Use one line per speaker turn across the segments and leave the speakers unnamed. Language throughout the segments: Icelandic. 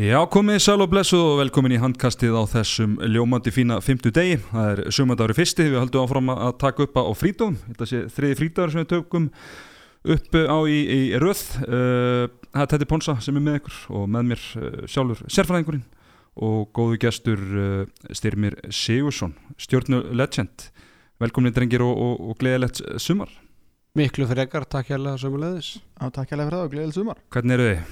Já, komið sæl og blessuð og velkomin í handkastið á þessum ljómandi fína fymtu degi. Það er sömandagur í fyrsti, við höldum áfram að taka upp á frítum. Þetta sé þriði frítagur sem við tökum upp eh, á í, í röð. Uh, Það er Teddy Ponsa sem er með ykkur og með mér uh, sjálfur sérfræðingurinn og góðu gestur uh, Styrmir Sigursson, stjórnulegend. Velkomin drengir og, og, og gleðilegt sumar.
Miklu frekar, takk hérlega sömulegðis
Já, takk hérlega fyrir það og gleðil sumar
Hvernig eru þið?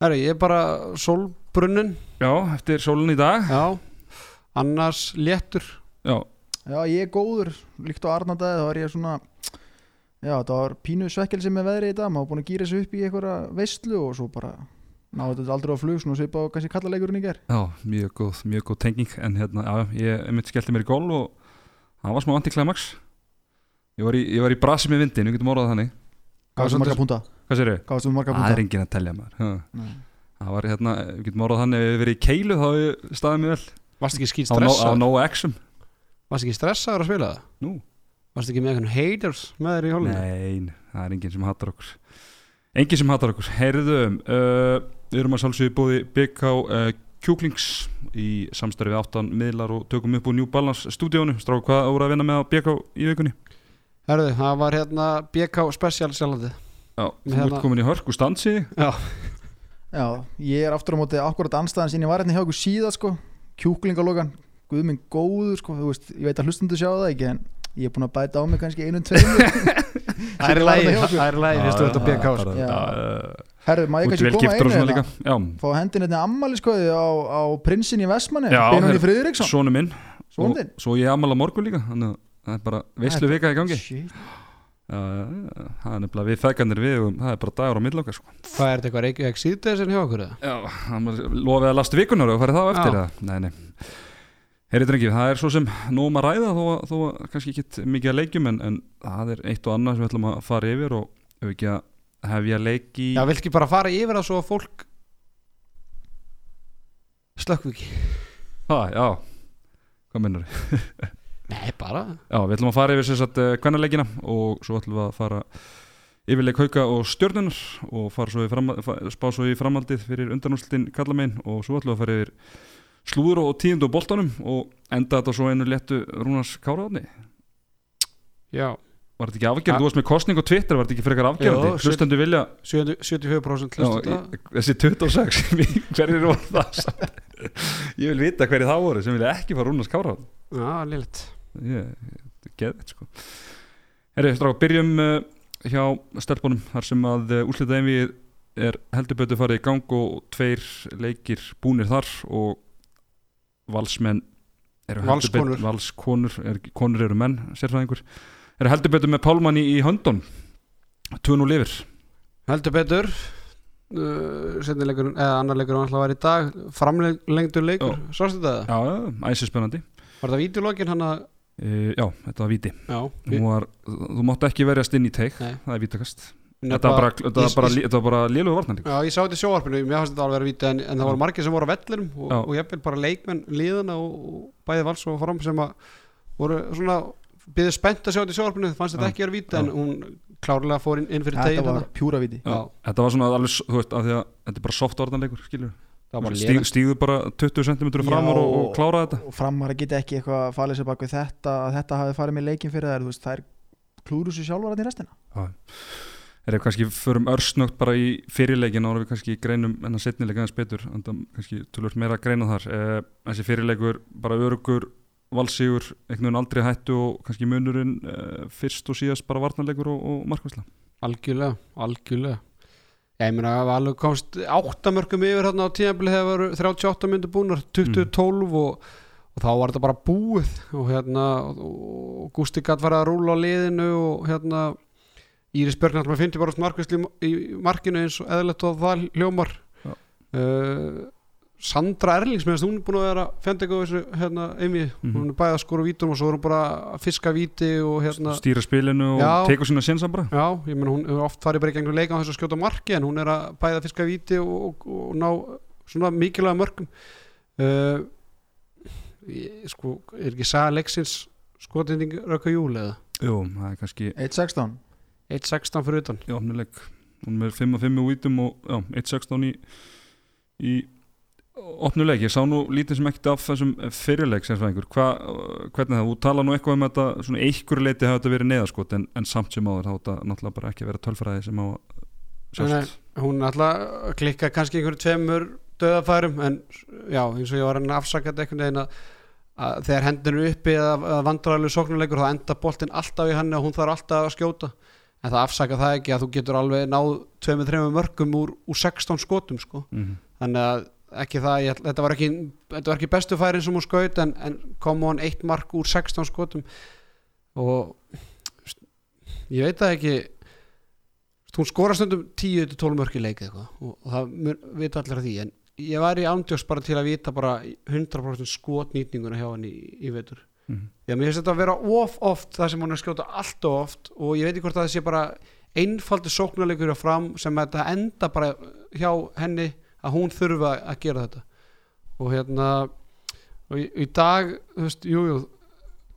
Herri, ég er bara sólbrunnin
Já, eftir sólun í dag.
Já, annars léttur
Já,
Já, ég er góður, líkt á Arnardæði þá er ég svona Já, það var pínu svekkelsi með veðri í dag maður var búin að gýra sig upp í einhverja veistlu og svo bara náðu þetta aldrei á flug svona svipa og kannski kallalegurinn í ger
Já, mjög góð, mjög góð tenging en hérna, já, ég einmitt skellti mér í gól og það var smá antiklæmaks ég, var í- ég var í brasi með vindin, við getum orðað þannig
Hvað sem
Hvað
marga púnta?
Hvað sér
Hvað sem marga
Það er
púnta?
enginn að telja maður ha.
Nei.
Það var hérna, við getum orðað þannig ef við verið í keilu þá hef ég staðið mjög vel
Varst ekki skýt
á, no, á
stressaður?
Nóa Exum
Varst ekki stressaður að spila það?
Nú,
Varst ekki með einhvern haters með þér í hólunni?
nein, það er enginn sem hattar okkur Enginn sem hattar okkur, heyrðum uh, Við erum að sálsögðu búið BK uh, Kjúklings í samstarfi við áttan miðlar og tökum upp úr New Balance stúdíónu Stráku, hvað voru að vinna með á BK í vikunni?
Herðu, það var hérna BK Special sjálfandi
Já, þú
Hérna-
ert komin í hörku stansi
Já, ég er aftur á móti akkurat anstæðan sín ég var hérna hjá okkur síða sko kjúklingalogan, guð minn góður sko þú veist, ég veit að hlustundu sjá það ekki en ég er búin að bæta á mig kannski einum tveim
Það er í lagi, það er í lagi fyrst þú ert á BK sko.
Já.
Út
Herðu, má ég kannski koma
velgiftur og
einu
svona
hérna?
líka Já,
Fá hendin hérna ammali sko á, á prinsin í Vestmanni
Já,
Benóni
herru.
Friðriksson
sonu minn
Son
og,
þinn?
Svo ég ammala morgun líka Þannig að það er bara veistlu vika í gangi Já,
Shit.
já, já, Það er nefnilega við fækandir við og það er bara dagur á millokkar sko.
Hvað er þetta eitthvað Reykjavík síðdegis en hjá okkur eða?
Já, hann var lofið að lasta vikunar og farið það á eftir
Já.
eða? Nei, nei Herri drengi, það er svo sem nóg um að ræða þó að, þó að kannski ekki mikið að leikjum en, en það er eitt og annað sem við ætlum að fara yfir og ef ekki að hefja leik í
Já, vil ekki bara fara yfir það svo að fólk slökkviki?
ha, já, hvað mennur
Nei, bara
Já, við ætlum að fara yfir sem sagt kvennarleikina og svo ætlum við að fara yfirleik hauka og stjörnunar og fara svo í fram, fa- spá svo í framhaldið fyrir undanúslutin kallamein og svo ætlum við að fara yfir slúður og tíund og boltanum og enda þetta svo einu léttu Rúnars Káraðni.
Já,
Var þetta ekki afgerð? Þú varst með kostning og Twitter, var þetta ekki frekar afgerðandi?
Jó,
Hlustendu vilja,
70
já,
75% hlustu
í- þessi 26, hverjir voru það samt? Ég vil vita hverjir það voru sem vilja ekki fara Rúnars Káraðni.
Já, lilit
ég, þetta er geðveikt sko Herri, stráka, byrjum uh, hjá stelpunum þar sem að uh, úrslita einvið er heldur betur farið í gang og tveir leikir búnir þar og valsmenn eru heldur
Valskonur.
betur- valskonur er, konur eru menn, sérfræðingur eru heldur betur með Pálmann í, í höndun 2-0 lifir
Heldur betur uh, Setni leikur, eða annar leikur hann alltaf var í dag Framlengdur leikur, sástu þetta?
já, æsir spennandi
Var þetta vítjulókin hann að
uh, já, þetta var viti
Já,
Hún var, þú mátt ekki verjast inn í teik
Nei.
það er vítakast
nefna-
þetta var bara, þetta var
ég-
bara,
ég-
þetta var bara lélugu varnar
Já, ég sá þetta í sjóvarpinu, mér fannst þetta alveg að vera víti en, en það
Já.
voru margir sem voru á vellinum og,
Já.
og ég vil bara leikmenn liðana og, og bæði vals og fram sem að voru svona byggði spennt að sjá þetta í sjóvarpinu, fannst þetta
Já.
ekki að vera víti
Já.
en hún klárlega fór inn, inn fyrir
Þetta
tegin
var pjúra viti
Já.
Já.
Þetta var svona alveg, s- þú veist, af því að þetta er bara soft orðanleikur, skilur
það var bara
Stíg,
liðan
Stíðu bara 20 cm framar
Já.
og, og klára þetta
og framar að geta ekki eitthvað að falið sér bak við þetta að þetta hafi farið með leikin fyrir þær þú veist, þær klúru sér sjálfar hann í restina
Er það kannski, förum örsnögt bara í fyrirleikin ára við kannski greinum en að setnileika aðeins betur en það kannski tölvöld meira að greina þar eh, Þessi fyrirleikur, bara örugur valsígur, einhvern veginn aldrei hættu og kannski munurinn eh, fyrst og síðast bara varnarleikur og, og markvæsla
Algjörlega, algjörlega Já, ég meina að Valur komst áttamörkum yfir hérna á tíðanbili þegar voru 38 myndir búnar
Mm.
2012 og, og þá var þetta bara búið og hérna og, og Gústi gatt var að rúla á liðinu og hérna Íris Björn alltaf með 50 bara markvisli í markinu eins og eðlilegt og það hljómar
Já.
uh, Sandra Erlings meðan hún er búin að vera fjandi góð þessu hérna einmi
Mhm.
hún er bæði að skora vítum og svo er hún bara að fiska víti og hérna
Stýra spilinu og
Já.
tekur sína sénsa bara
Já, ég menn hún hefur oft farið bara í gegnum leika á þess að skjóta marki en hún er að bæða fiska víti og, og, og ná svona mikilvæga mörgum uh, ég, sko, er ekki saga leiksins skotending röka júl eða
Jú, það er kannski
1-16
1.16 fyrir utan
í opnuleik hún er með 5 og 5 útum og já, 1.16 í, í opnuleik, ég sá nú lítið sem ekkert af þessum fyrirleik sem svæðingur Hva, eh, hvernig það, þú tala nú eitthvað um þetta svona einhver leiti hafa þetta verið neðaskot en, en samt sem áður þá þetta náttúrulega bara ekki að vera tölfræði sem á að
Nei,
sjást
hún alltaf klikka kannski einhverjum tveimur döðafærum en já, eins og ég var hann afsakað einhvern veginn að, að þegar hendin er uppi eða, eða vandræðalegu sóknuleikur þá enda boltinn alltaf í henni og hún þarf alltaf að skjóta en það afsaka það ekki að þú getur alveg náð tveimur, þreimur mörgum úr, úr 16 skotum sko
mm -hmm.
þannig að ekki það, ég, ætla- þetta, var ekki, þetta var ekki bestu færin sem hún skaut en, en kom hún eitt mark úr 16 skotum og ég veit það ekki hún skora stundum 10-12 mörk í leik eða eitthvað og, og það mun- vita allir af því en ég var í ándjóks bara til að vita bara 100% skotnýtninguna hjá henni í, í vetur
Mhm.
já, mér finnst þetta að vera of oft það sem hún er að skjóta allt of oft og ég veit ekki hvort að það sé bara einfaldi sóknarleikur hjá fram sem að þetta enda bara hjá henni að hún þurfa að gera þetta og hérna og í, í dag, þú veist, jú, jú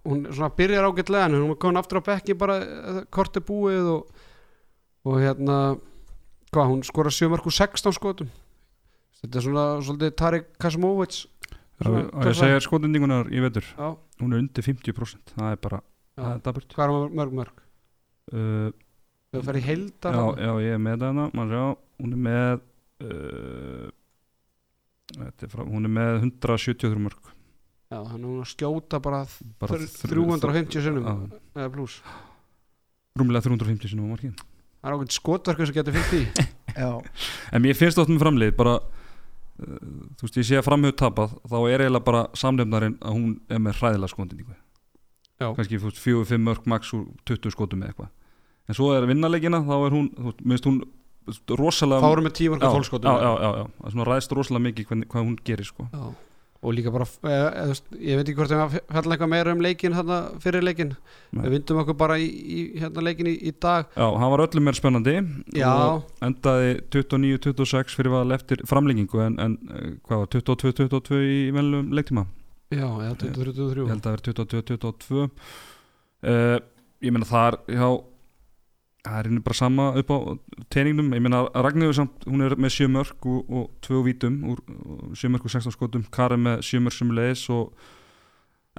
hún svona byrjar ágætlega en hún er komin aftur á bekki bara eh, korti búið og, og hérna hvað, hún skora 7 mörg úr 16 skotum þetta er svona svolítið Tarik Kasimovic
að, að ég segja skotendingunar í vetur
já,
hún er undir 50% það er bara, það er daburt
hvað er mörg mörg, mörg?
uh,
þau fer í heildar
já, já, ég er með hana maður sjá, hún er með uh, þetta er frá, hún er með 173 mörg
já, hann er hún að skjóta bara
bara
Þr-
þrjú-
350 sinnum
Já.
eða pluss
rúmlega 350 sinum á markin
það er ákveðin skotverku sem getur fyllt í
já,
En mér finnst oft með framlið bara uh, þú veist, ég sé að framhjóð tapað þá er eiginlega bara samlefnarinn að hún er með hræðilega skotendingu
Já.
kannski þú veist, fjögur, fimm mörg max úr 20 skotum eða eitthvað en svo er vinnarleikina, þá er hún, þú veist, mér finnst hún þú veist, rosalega
fárum með 10 mörg og 12 skotum
já, já, já, já, það er svona ræðst rosalega mikið hvernig, hvað hún gerir sko
Já, og líka bara eh, eh, þú veist, ég veit ekki hvort það fjallar eitthvað meira um leikin hérna, fyrir leikin
Nei.
við vindum okkur bara í, í hérna, leikin í, í dag
Já, hann var öllum meir spennandi
já,
og endaði 29-26 fyrir val eftir framlengingu en, en eh, hvað var, 22-22 í velum leiktíma
já, eða 2033
ég held að það veri 2022 uh, ég meina það er já, það er henni bara sama upp á teiningnum, ég meina Ragnhjóður samt, hún er með 7 mörg og, og 2 vítum, úr 7 mörg og 16 skotum Karin með 7 mörg sem leiðis og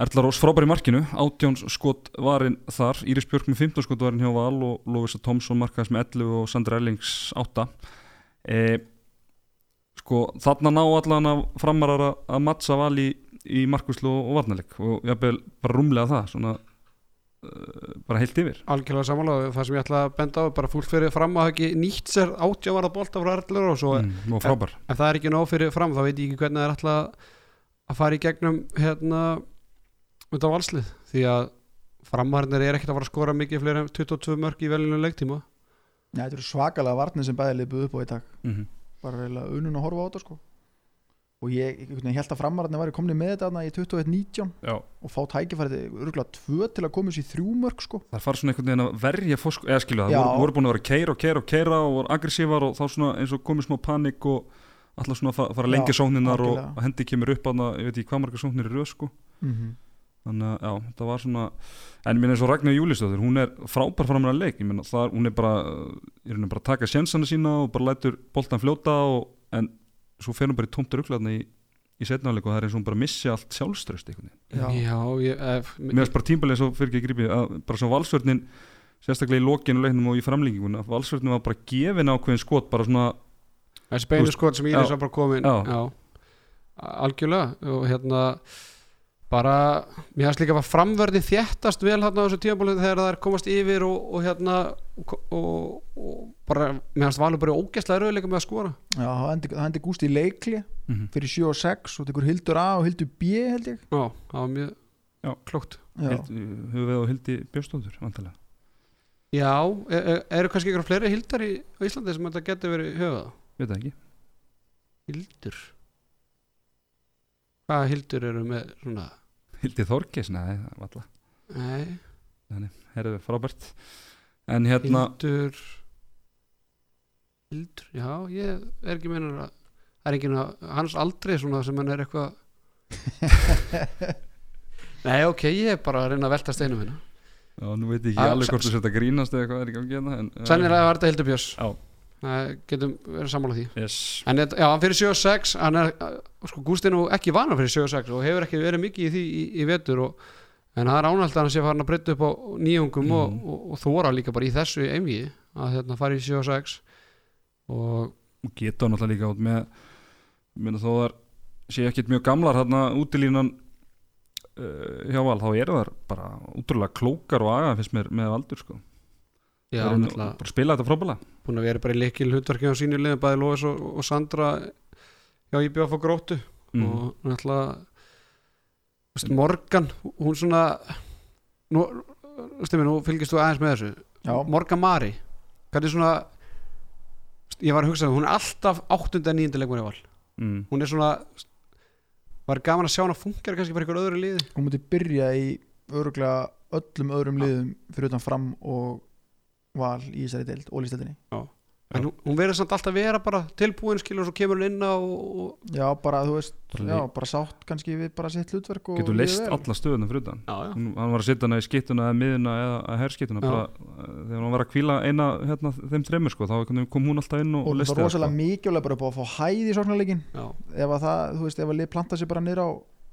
Erla Rós frábær í markinu 18 skot varinn þar Íris Björk með 15 skot varinn hjá Val og Lovisa Tomsson markaðis með 11 og Sandra Erlings 8 eh, sko þarna ná allan að framarar að- að mattsa Val í í markuslu og varnarleik og jafnvel bara rúmlega það svona, uh, bara heilt yfir
algjörlega samanlega það sem ég ætla að benda á er bara fólk fyrir fram að hafa ekki nýtt sér átjávarða bolta frá Erlur og svo
mm, og frábær
ef það er ekki nóg fyrir fram þá veit ég ekki hvernig það er alltaf að fara í gegnum hérna út af valslið því að framvarnir er ekkert að fara að skora mikið fleiri en 22 mörg í velinu leiktíma
Nei, þetta eru svakalega varnir sem bæði liðið upp á í dag
mm -hmm.
bara reyðilega unun að horfa á þetta sko og ég, ég, ég held að framararnir væri komni með þetta þarna í 21.19
já,
og fá tækifærið örgulega tvö til að koma þessi þrjú mörg sko
það fara svona einhvern veginn að verja fósk, eða skilja það,
Já.
voru, voru búin að vera að keira og keira og keira og voru aggressívar og þá svona eins og komið smá panik og alltaf svona að fa- fara að lengja
Já,
sóknirnar og
algjörlega.
og hendi kemur upp að ég veit ekki hvað margar sóknir eru sko. þannig að já, það var svona en mér eins og Ragnar Júlistóður, hún er frábær framar að leik, ég meina það, hún er bara er hún bara að taka sjensana sína og bara lætur boltan fljóta og, en svo fer hún bara í tómt rugglaðna í, í setnáleik og það er eins og hún bara missi allt sjálfströst einhvern veginn.
Já.
já ég, eh, ef,
Mér finnst bara tímbalið svo fyrir ekki grípið að bara svo valsvörnin sérstaklega í lokinu leiknum og í framlengingun að valsvörnin var bara gefin ákveðin skot bara svona,
þessi
Þú
beinu
veist,
skot sem Íris
já.
var bara komin
Já.
algjörlega og hérna bara, mér finnst líka að framverðin þéttast vel hérna á þessu tímabólið þegar það er komast yfir og, og hérna og, og, og bara, mér finnst valur bara í ógeðslega rauðleika með að skora
Já, það hendi, það hendi Gústi í leikli
mm
fyrir 7 og 6 og tekur Hildur A og Hildur B held ég
já, það var mjög
Já.
klókt
Já,
Hild, höfuð og hildi Björnstóður vantarlega
já, e- e- eru kannski ykkur fleiri hildar í á Íslandi sem þetta getur verið höfða
veit það ekki,
hildur hvaða hildur eru með svona
hildi Þorkis, nei, það var alltaf
nei,
herðu frábært en hérna,
Hildur Hildur, já, ég er ekki meinar að það er ekki hans aldrei svona sem hann er eitthvað Nei, ok, ég er bara að reyna að velta steinu minna
Já, nú veit ég ekki
Ah,
alveg
sa-
hvort þú sért að grínast eða hvað er í gangi hérna en,
Sennilega var þetta Hildur Björns
Já.
Nei, getum verið sammála því
yes.
En þetta- já, hann fyrir 7-6 hann er, uh, sko, Gústi er nú ekki vanar fyrir 7-6 og hefur ekki verið mikið í því í, í vetur og, en það er ánægt að hann sé farin að breytta upp á nýjungum og,
Mhm.
og, og þóra líka bara í þessu einvigi að hérna fara í 7-6 og
og geta hann alltaf líka út með minna þó þar sé ekkert mjög gamlar hérna útilínan uh, hjá val, þá eru þar bara útrúlega klókar og aga finnst mér með aldur sko.
já,
Þeir eru nú
náttúrulega
bara að spila þetta frábæla
búin að vera bara í leikil hlutverki á sínu liðin bæði Lóis og, og Sandra já, ég bjóða að fá gróttu
mm.
og náttúrulega þú veist, Morgan, hún svona nú, stemmi, nú fylgist þú aðeins með þessu
já,
Morgan Mari hvernig svona ég var að hugsa það, hún er alltaf 8. en 9. leikunni val
Mm.
hún er svona var gaman að sjá hún að fungera kannski bara í einhver öðru liði
hún múti byrja í öruglega öllum öðrum liðum fyrir utan fram og val í þessari deild, ólýsteldinni
en hún, hún verður samt alltaf vera bara tilbúin skilur og svo kemur hún inn á og,
já, bara þú veist,
Bara
já,
leik-
bara sátt kannski við bara sitt hlutverk og
getur
líður
leist
vel.
alla stöðuna fyrir utan
og, já, já.
hún, hann var að setja hana í skittuna eða miðuna eða herskittuna
Já.
bara, eh, þegar hann var að kvíla eina hérna, þeim þreymur sko, þá einhvern veginn kom hún alltaf inn og, sko.
og
og
það
listi
var rosalega mikilvæg bara upp á að fá hæði í sóknarleikin
Já.
ef að það, þú veist, ef að lið planta sér bara niður á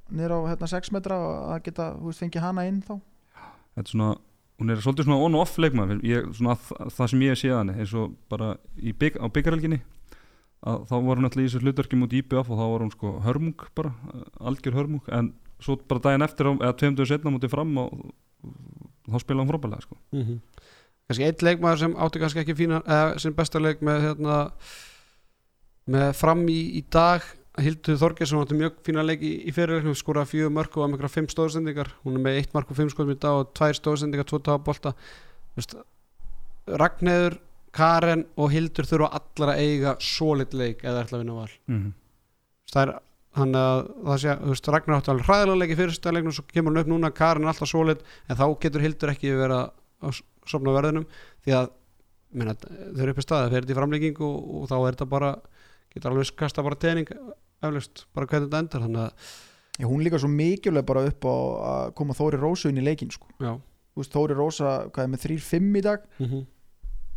niður á hérna 6 metra og að geta, þú veist, fengið hana inn þá
þetta er svona hún er svolítið svona on og off leikmann fyrir- ég, svona, þa það sem ég sé að henni eins og bara í bygg, á byggarhelginni að þá var hún alltaf í þessu hlutverki mútið IBF og þá var hún sko hörmung bara eh, algjör hörmung en svo bara daginn eftir á- eða tveimduðu setna mútið fram og og þá spilaði hún frábælega sko
kannski einn leikmaður sem átti kannski ekki fína eða sem besta leik með hérna með fram í, í dag Hildur Þorgesson átti mjög fína leik í, í fyrirleiknum skoraði fjögur mörg og var með einhverja fimm stóðsendingar hún er með eitt mark og fimm skoðum í dag og tvær stóðsendingar, tvo tafabolta Ragnheður Karen og Hildur þurfa allar að eiga solid leik eða ætla að vinna val
mm -hmm.
það er hann að það sé, þú veist, Ragnar átti alveg hræðilega leik í fyrsta leiknum, svo kemur hann upp núna Karin er alltaf svoleitt, en þá getur Hildur ekki verið að- að s- sofna á verðinum því að, minna, þau eru upp í staði það fer þetta í framlíkingu og, og þá er þetta bara getur alveg kasta bara tening eflust, bara hvernig þetta endar þannig að,
Já, hún líka svo mikilvæg bara upp á að koma Þóri Rósu inn í leikin sko.
já
Þú veist, Þóri Rósa, hvað er með 3-5 í dag
Mhm.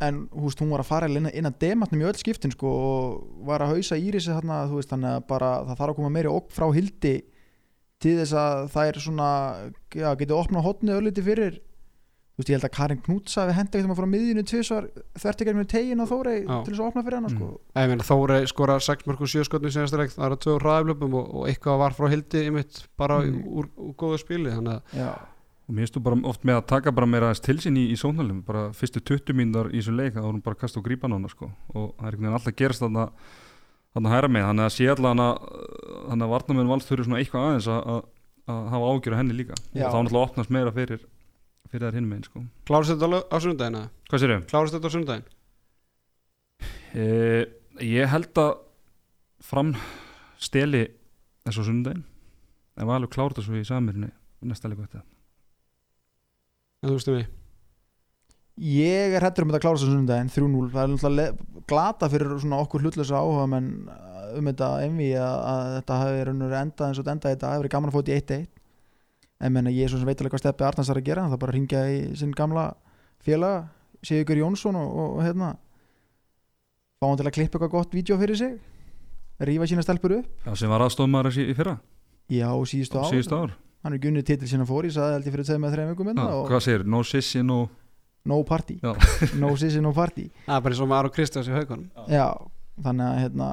en þú veist, hún var að fara inn inn að dematnum í öll skiptin sko, og var að hausa Írisi þarna, þú veist, þannig að bara það þarf að koma meiri okk frá hildi til þess að það er svona já, getið opnað hotnið örlítið fyrir þú veist, ég held að Karin Knútsa við henda eitthvað frá miðjunni tvisvar þvert ekki með tegin á Þóri
Já.
til þess að opna fyrir hana sko.
Nei, ég meina, Þóri skora 6 mörg og 7 skotni í senasta leik, það eru tvö hraðiflöpum og, og eitthvað var frá Hildi einmitt bara
Mm.
úr, úr góðu spili þannig að,
já,
og mér stu bara oft með að taka bara meira aðeins til sín í, í sónalum, bara fyrstu 20 mínútar í þessu leik, þá er hún bara að kasta og grípa hana sko. og það er einhvern veginn alltaf að gerast þarna þarna hæra með, þannig að sé alltaf hana þannig að varnamenn valst þurfi svona eitthvað aðeins að, að, að hafa ágjör á henni líka
Já.
og þá náttúrulega opnast meira fyrir fyrir þær hinn megin sko.
klárist þetta á laug- á sunnudaginn eða?
Hvað sér ég?
klárist þetta á sunnudaginn
Eh, ég held að fram steli þessu á sundaginn en var alveg klárt þessu í samirinu næsta leiku eftir
en þú veist um því
Ég er hættur um þetta að klára þessu sundaginn 3-0, það er náttúrulega le- glata fyrir svona okkur hlutlösa áhuga menn um þetta envi að, að þetta hafi raunur endað eins og þetta endaði þetta hafi verið gaman að fóta í 1-1 en menna ég er svo sem veit alveg hvað steppi Arnars er að gera það er bara að ringja í sinn gamla félaga Sigur Jónsson og, og, og hérna fá hann til að klippa eitthvað gott vídeo fyrir sig rífa sína stelpur upp
Já, sem var aðstofmaður þessi í fyrra,
já, síðustu ár,
síðust ár
hann er gunnið titil sinna fór, ég saði held ég fyrir tveim með þreim vikum
Já,
hérna og
Hvað segir, no sissi, no
no party
Já.
no sissi, no party
Það er bara eins og maður og Kristjáns í haugunum
Já, þannig að hérna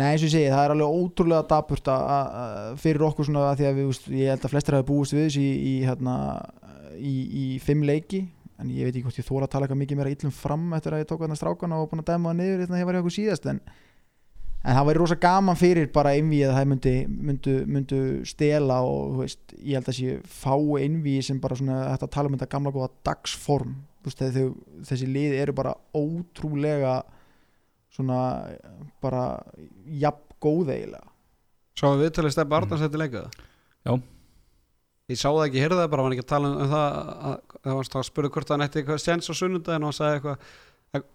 Nei, eins og ég segi, það er alveg ótrúlega dapurt að, að- að fyrir okkur svona að því að við, úst, ég held að flestir hafi búist við þessu í, í, hérna, í, í fimm leiki en ég veit ekki hvort ég þóra að tala eitthvað mikið meira illum fram eftir að ég tók þarna strákana og búin að dæma það niður hérna þegar ég var hjá okkur síðast en, en það væri rosa gaman fyrir bara einvíð að það myndu, myndu, myndu stela og þú veist, ég held að sé fá einvíð sem bara svona þetta tala um þetta gamla góða dagsform þú veist, þegar þau, þessi lið eru bara ótrúlega svona bara jafn góð eiginlega
Sá við viðtalið Steppa Arnars eftir leikaða
Já.
Ég sá það ekki, heyrði það bara, hann var ekki að tala um það að- Það var að spurði hvort hann ætti eitthvað séns á sunnundaginn og hann sagði eitthvað að-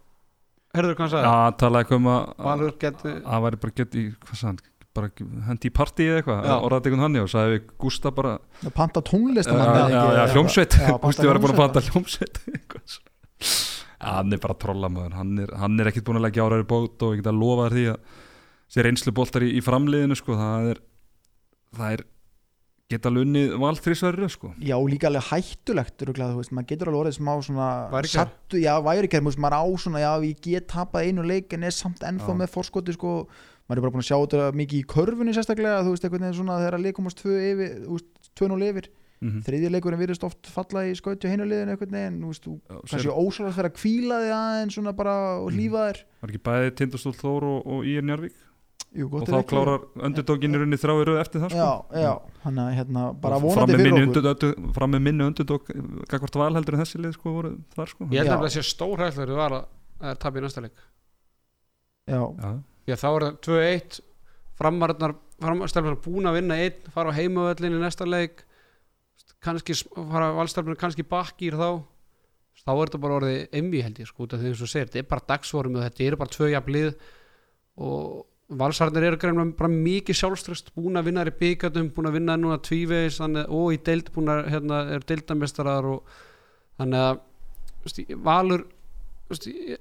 Heyrðu hvað hann
Já,
sagði?
hann talaði eitthvað um að
Valur geti
að það væri bara gett í, hvað sagði hann, bara hendi í partí eða eitthvað,
Já.
orðaði eitthvað hann já, sagði við Gústa bara,
Það panta tónlist
já, já, já, hljómsveit, Gústi var búin að panta hljómsveit eitthvað svo. hann er bara trollamöður hann er, hann er ekkit búin að leggja áraður bót og ég get að lofa þér því að sér reynslu boltar í, í framliðinu sko, það er það er geta lunnið valþrísverður sko.
Já, líka alveg hættulegt örugglega, þú veist, maður getur alveg orðið smá svona
Værugerð.
sattu, já, værikær, veist, maður á svona já, ég get tapað einu leik en er samt ennþá
Já.
með forskoti, sko maður er bara búin að sjá þetta mikið í körfunni sérstaklega þú veist, einhvern veginn svona þegar að leikumast tvö yfir, þú veist, tvö núl yfir
mm -hmm.
þriðji leikurinn virðist oft falla í skauti hinu liðinu einhvern veginn, þú veist, þú
sér,
kannski ósvöld fyrir að kvíla þig aðeins svona bara og
Mhm.
lífa þér
var ekki bæði Tindastól Þór og, og Ír Njarvík
Jú,
og
gott
þá
er ekki.
klárar öndurdókinni runni þrái röð eftir það sko.
Já, já, hann að hérna bara
Og fram
vonandi
með minni
fyrir okkur
undir- undir- fram með minni öndurdók gagvart valheldur en þessi lið sko, voru þar sko.
Ég held
Já.
nefnilega að sé stór hættur var að það er tapið í næsta leik
Já,
Já,
Já, þá er það 2-1 framararnar, framararnar búin að vinna einn fara á heimavöllin í næsta leik kannski sm- fara valstarfinu kannski bakkýr þá þá er þetta bara orðið emmi held ég sko út af því eins og þú segir, þetta er bara dagsvorum og þetta eru bara tvö jafnlið og valsarnir eru greinlega bara mikið sjálfströst búin að vinna þær í byggatum, búin að vinna núna tvívegis þannig, og í deild búin að hérna, er deildamestarar og þannig að þú veist, ég- valur þú veist, ég,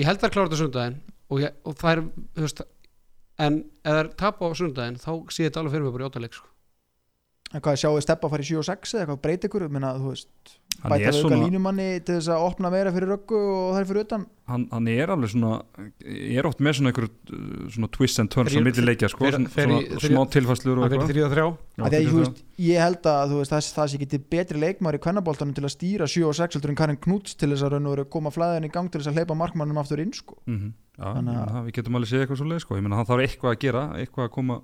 ég held að klára þetta á sundaginn og, ég, og það er þú veist, en ef það er tap á sundaginn þá sé þetta alveg fyrir mig bara í óttaleg sko.
en hvað sjáu steppa að fara í 7 og 6 eða eitthvað breyta ykkur, minna, þú veist
hann
bæta
er
við auka
svona
línumanni til þess að opna meira fyrir röggu og það er fyrir utan
hann, hann er alveg svona ég er oft með svona einhver svona twist and turns á
Þrír-
milli leikja sko,
þeir-
svona,
þeir-
svona
þeir-
smá tilfæslur og
það fyrir
eitthvað
þrjú og þrjá
Já,
Af því að,
fyrir
þú
það.
veist, ég held að þú veist, það, það sé ekki til betri leikmaður í kvennaboltanum til að stýra 7 og 6 heldur en Karin Knúts til þess að raun og veru koma flæðin í gang til þess að hleypa markmannum aftur inn sko.
Mhm, Já, ég
Þannig að-
meina, við getum alveg séð eitthvað svo leið sko. Ég meina, hann þarf eitthvað að gera, eitthvað að koma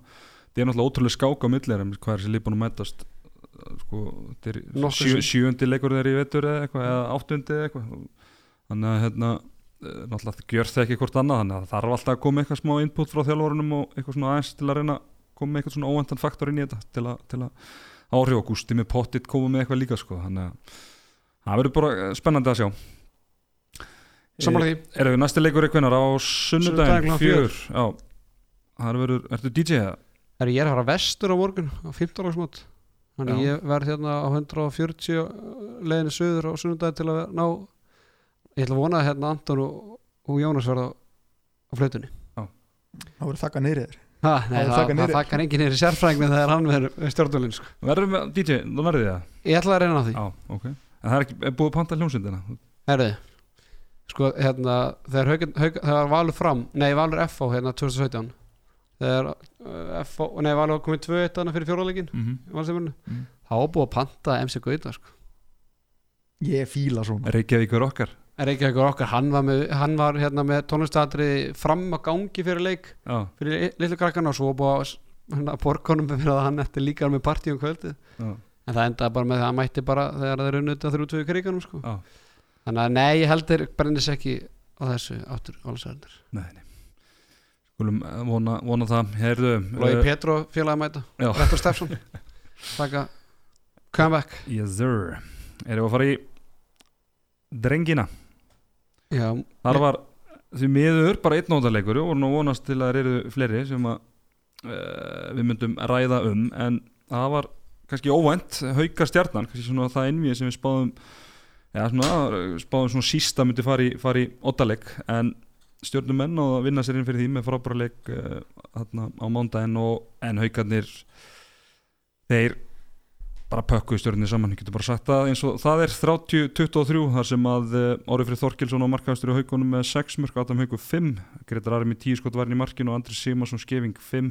þetta er náttúrulega ótrúlega skák á millir en hvað er þessi lífbúin að mætast uh, sko, þetta er
Nokkuð
sjö,
sinnum.
sjöundi leikur þegar ég veitur eða eitthvað, eða áttundi eða eitthvað þannig að hérna eh, náttúrulega gjör það ekki hvort annað þannig að það þarf alltaf að koma eitthvað smá input frá þjálfórunum og eitthvað svona aðeins til að reyna að koma með eitthvað svona óvendan faktor inn í þetta til að, til að áhrif og gústi með pottit koma með eitthvað líka sko. þannig að það verður bara eh, spennandi að sjá
samanlega því,
Erum við næsti leikur eitthvað á
Sunnudaginn
sunnudaginn
klukkan
fjör Já, það verður, ertu DJ eða?
er ég er að fara vestur á morgun á 15 áragsmót þannig
Já.
ég verð hérna á 140 leiðinu söður á sunnundagi til að ver- ná ég ætla að vona að hérna Anton og, og Jónas verða á, á flautunni
það voru þakka niður þér
ha,
Það
nei,
er
það,
þakkar
það,
niðri.
þakkar enginn er í sérfræðingni þegar hann verður stjórnulinn sko.
Verður með DJ, þú verður því það?
ég ætla að reyna á því
Já, ok En það er ekki, er búið að panta hljómsundina?
Herðu Sko, hérna, þegar, haug, haug, þegar Valur fram Nei, Valur FH hérna 2017 Þegar uh, FH, nei, Valur komið 2-1 þarna fyrir fjóralegin
Mm
Valsefurinn
Mm.
Þá var búið að panta MC Gauta sko.
ég fíla svona
Reykjavík er okkar
Er ekki eitthvað okkar, hann var, með, hann var hérna með tónlistatri fram að gangi fyrir leik
Já,
Fyrir li- litlu krakkana og svo var búið að s- hérna, borgunum fyrir að hann eftir líka með partí um kvöldið
já,
En það endaði bara með það að hann mætti bara þegar þeir eru nötað þrjú tvö í kriganum sko.
já
Þannig að nei, ég heldur brennist ekki á þessu áttur valsæðanir.
Nei, nei Skulum eh, vona, vona það, heyrðu
Lói
eh,
Petro félagi að mæta
Já.
Rettur Stefsson Taka comeback
eh, Yes sir Erum við að fara í Drengina
Já,
Þar
Nei.
var því miður bara einn nótaleikur og nú vonast til að það eru fleiri sem að, uh, við myndum ræða um en það var kannski óvænt hauka stjarnan, kannski svona það innvíð sem við spáðum ja, svona, spáðum svona sísta myndi fara í, fara í ottaleg en stjórnum menn og vinna sér inn fyrir því með frábæraleg uh, þarna á mándaginn og en haukarnir þeir bara pökkuðu stjórnir saman, ég getur bara sagt það eins og það er 30-23 þar sem að eh, Orður Frið Þorkilsson á markaðastur í haugunum með 6 mörg, Adam Haugu 5 Gretar Ari með 10 skot varinn í markinu og Andri Simarsson skefing 5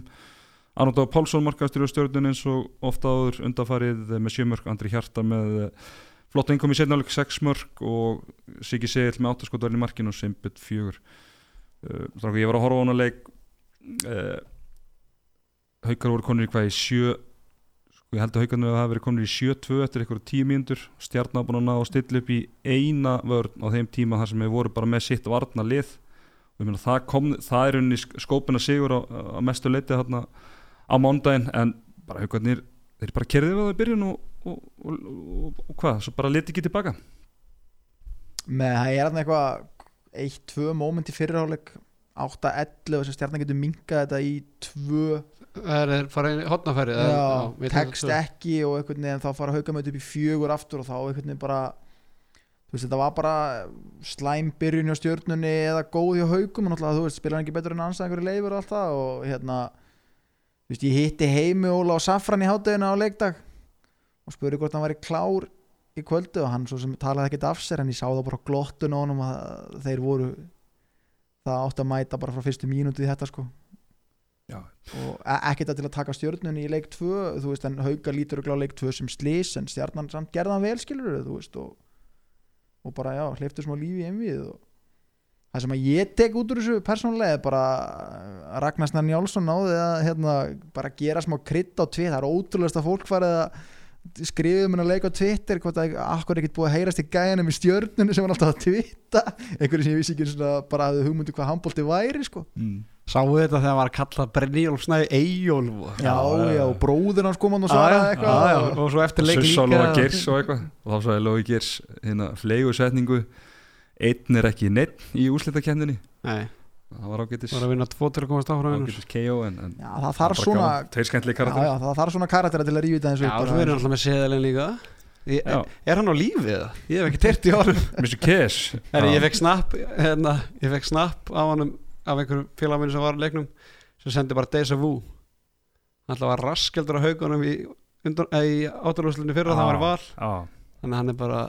Arnóta Pálsson markaðastur í stjórnun eins og ofta áður undafarið eh, með 7 mörg, Andri Hjarta með eh, flott einkom í setnáleik 6 mörg og Siggi Segil með 8 skot varinn í markinu og Simbit 4 Þráka, ég var að horfa á hana leik uh, Haukar voru konur í hvað í 7 Sko, ég held að haugarnir hafa verið komin í 7-2 eftir eitthvað 10 mínútur stjarnar búin að ná að stilla upp í eina vörn á þeim tíma þar sem við vorum bara með sitt varna lið og ég meina það kom, það er unni skópina sigur á, á mestu leiti þarna á mándaginn en bara haugarnir þeir bara kerðið við það í byrjun og, og, og, og, og hvað, svo bara liti ekki tilbaka
með það er hann eitthvað 1-2 moment í fyrirháleik 8-11 sem stjarnan getur minkað þetta í 2
það er farið í hotnafæri
já, tekst ekki og einhvern veginn þá fara haukamötu upp í 4 aftur og þá einhvern veginn bara þú veist, þetta var bara slæm byrjun hjá stjörnunni eða góð hjá haukum og náttúrulega, þú veist, spilaði hann ekki betur en anstæðingur í leifur og allt það og hérna þú veist, ég hitti heimi Óla og Safran í háttegina á leikdag og spurði hvort hann væri klár í kvöldu og hann svo sem talaði ekkert af sér en ég sá það bara á glottun á honum að þeir voru það átt að mæta bara frá fyrstu mínútu í þetta sko
Já.
og e- ekkert að til að taka stjörnunni í leik 2 þú veist en hauga lítur og glá leik 2 sem slís en stjarnan samt gerði hann vel skilur þú veist og, og bara já hleyftu smá lífi í einvið og það sem að ég tek út úr þessu persónulega er bara að Ragnar Snær Njálsson náði að hérna, bara gera smá krydd á tvið það er ótrúlegast að fólk farið að skrifið um hennar leik á Twitter hvort að akkur ekkert búið að heyrast í gæjanum í stjörnunni sem var alltaf að twitta einhverju sem ég vissi ekki einu sinni að bara hafði hugmyndu hvað handbólti væri sko
mm.
Sáu þetta þegar var að kalla Brynjólf Snæði Eyjólf og-
Já, já, og bróðir hans kom hann og
Já, já,
svaraði
já, já,
eitthvað
og svo eftir leik
Sussa
líka
og Lóa Geirs og eitthvað og þá sagði Lóa Geirs hérna flegu setningu einn er ekki neitt í úslitakefninni
Nei,
það var ágætis,
var að vinna tvo til að komast áfram vinur.
ágætis KO en, en
Já, það þarf svona
tveir skemmtli
já,
karakter
já, það þarf svona karaktera til að rífi þetta eins
Já,
og
svo verður hann alltaf með seðalinn líka ég,
Já.
Er hann á lífið eða? Ég hef ekki teirt í orðum
Mr. Cash
Herri,
Já.
Ég fekk snapp hérna, Ég fekk snapp á hann af einhverjum félagminni sem var á leiknum sem sendi bara Deja Vu Hann alltaf var raskeldur á haugunum í, undan- eh, í áttalúslunni fyrir að það var í val
Já,
Þannig að hann er bara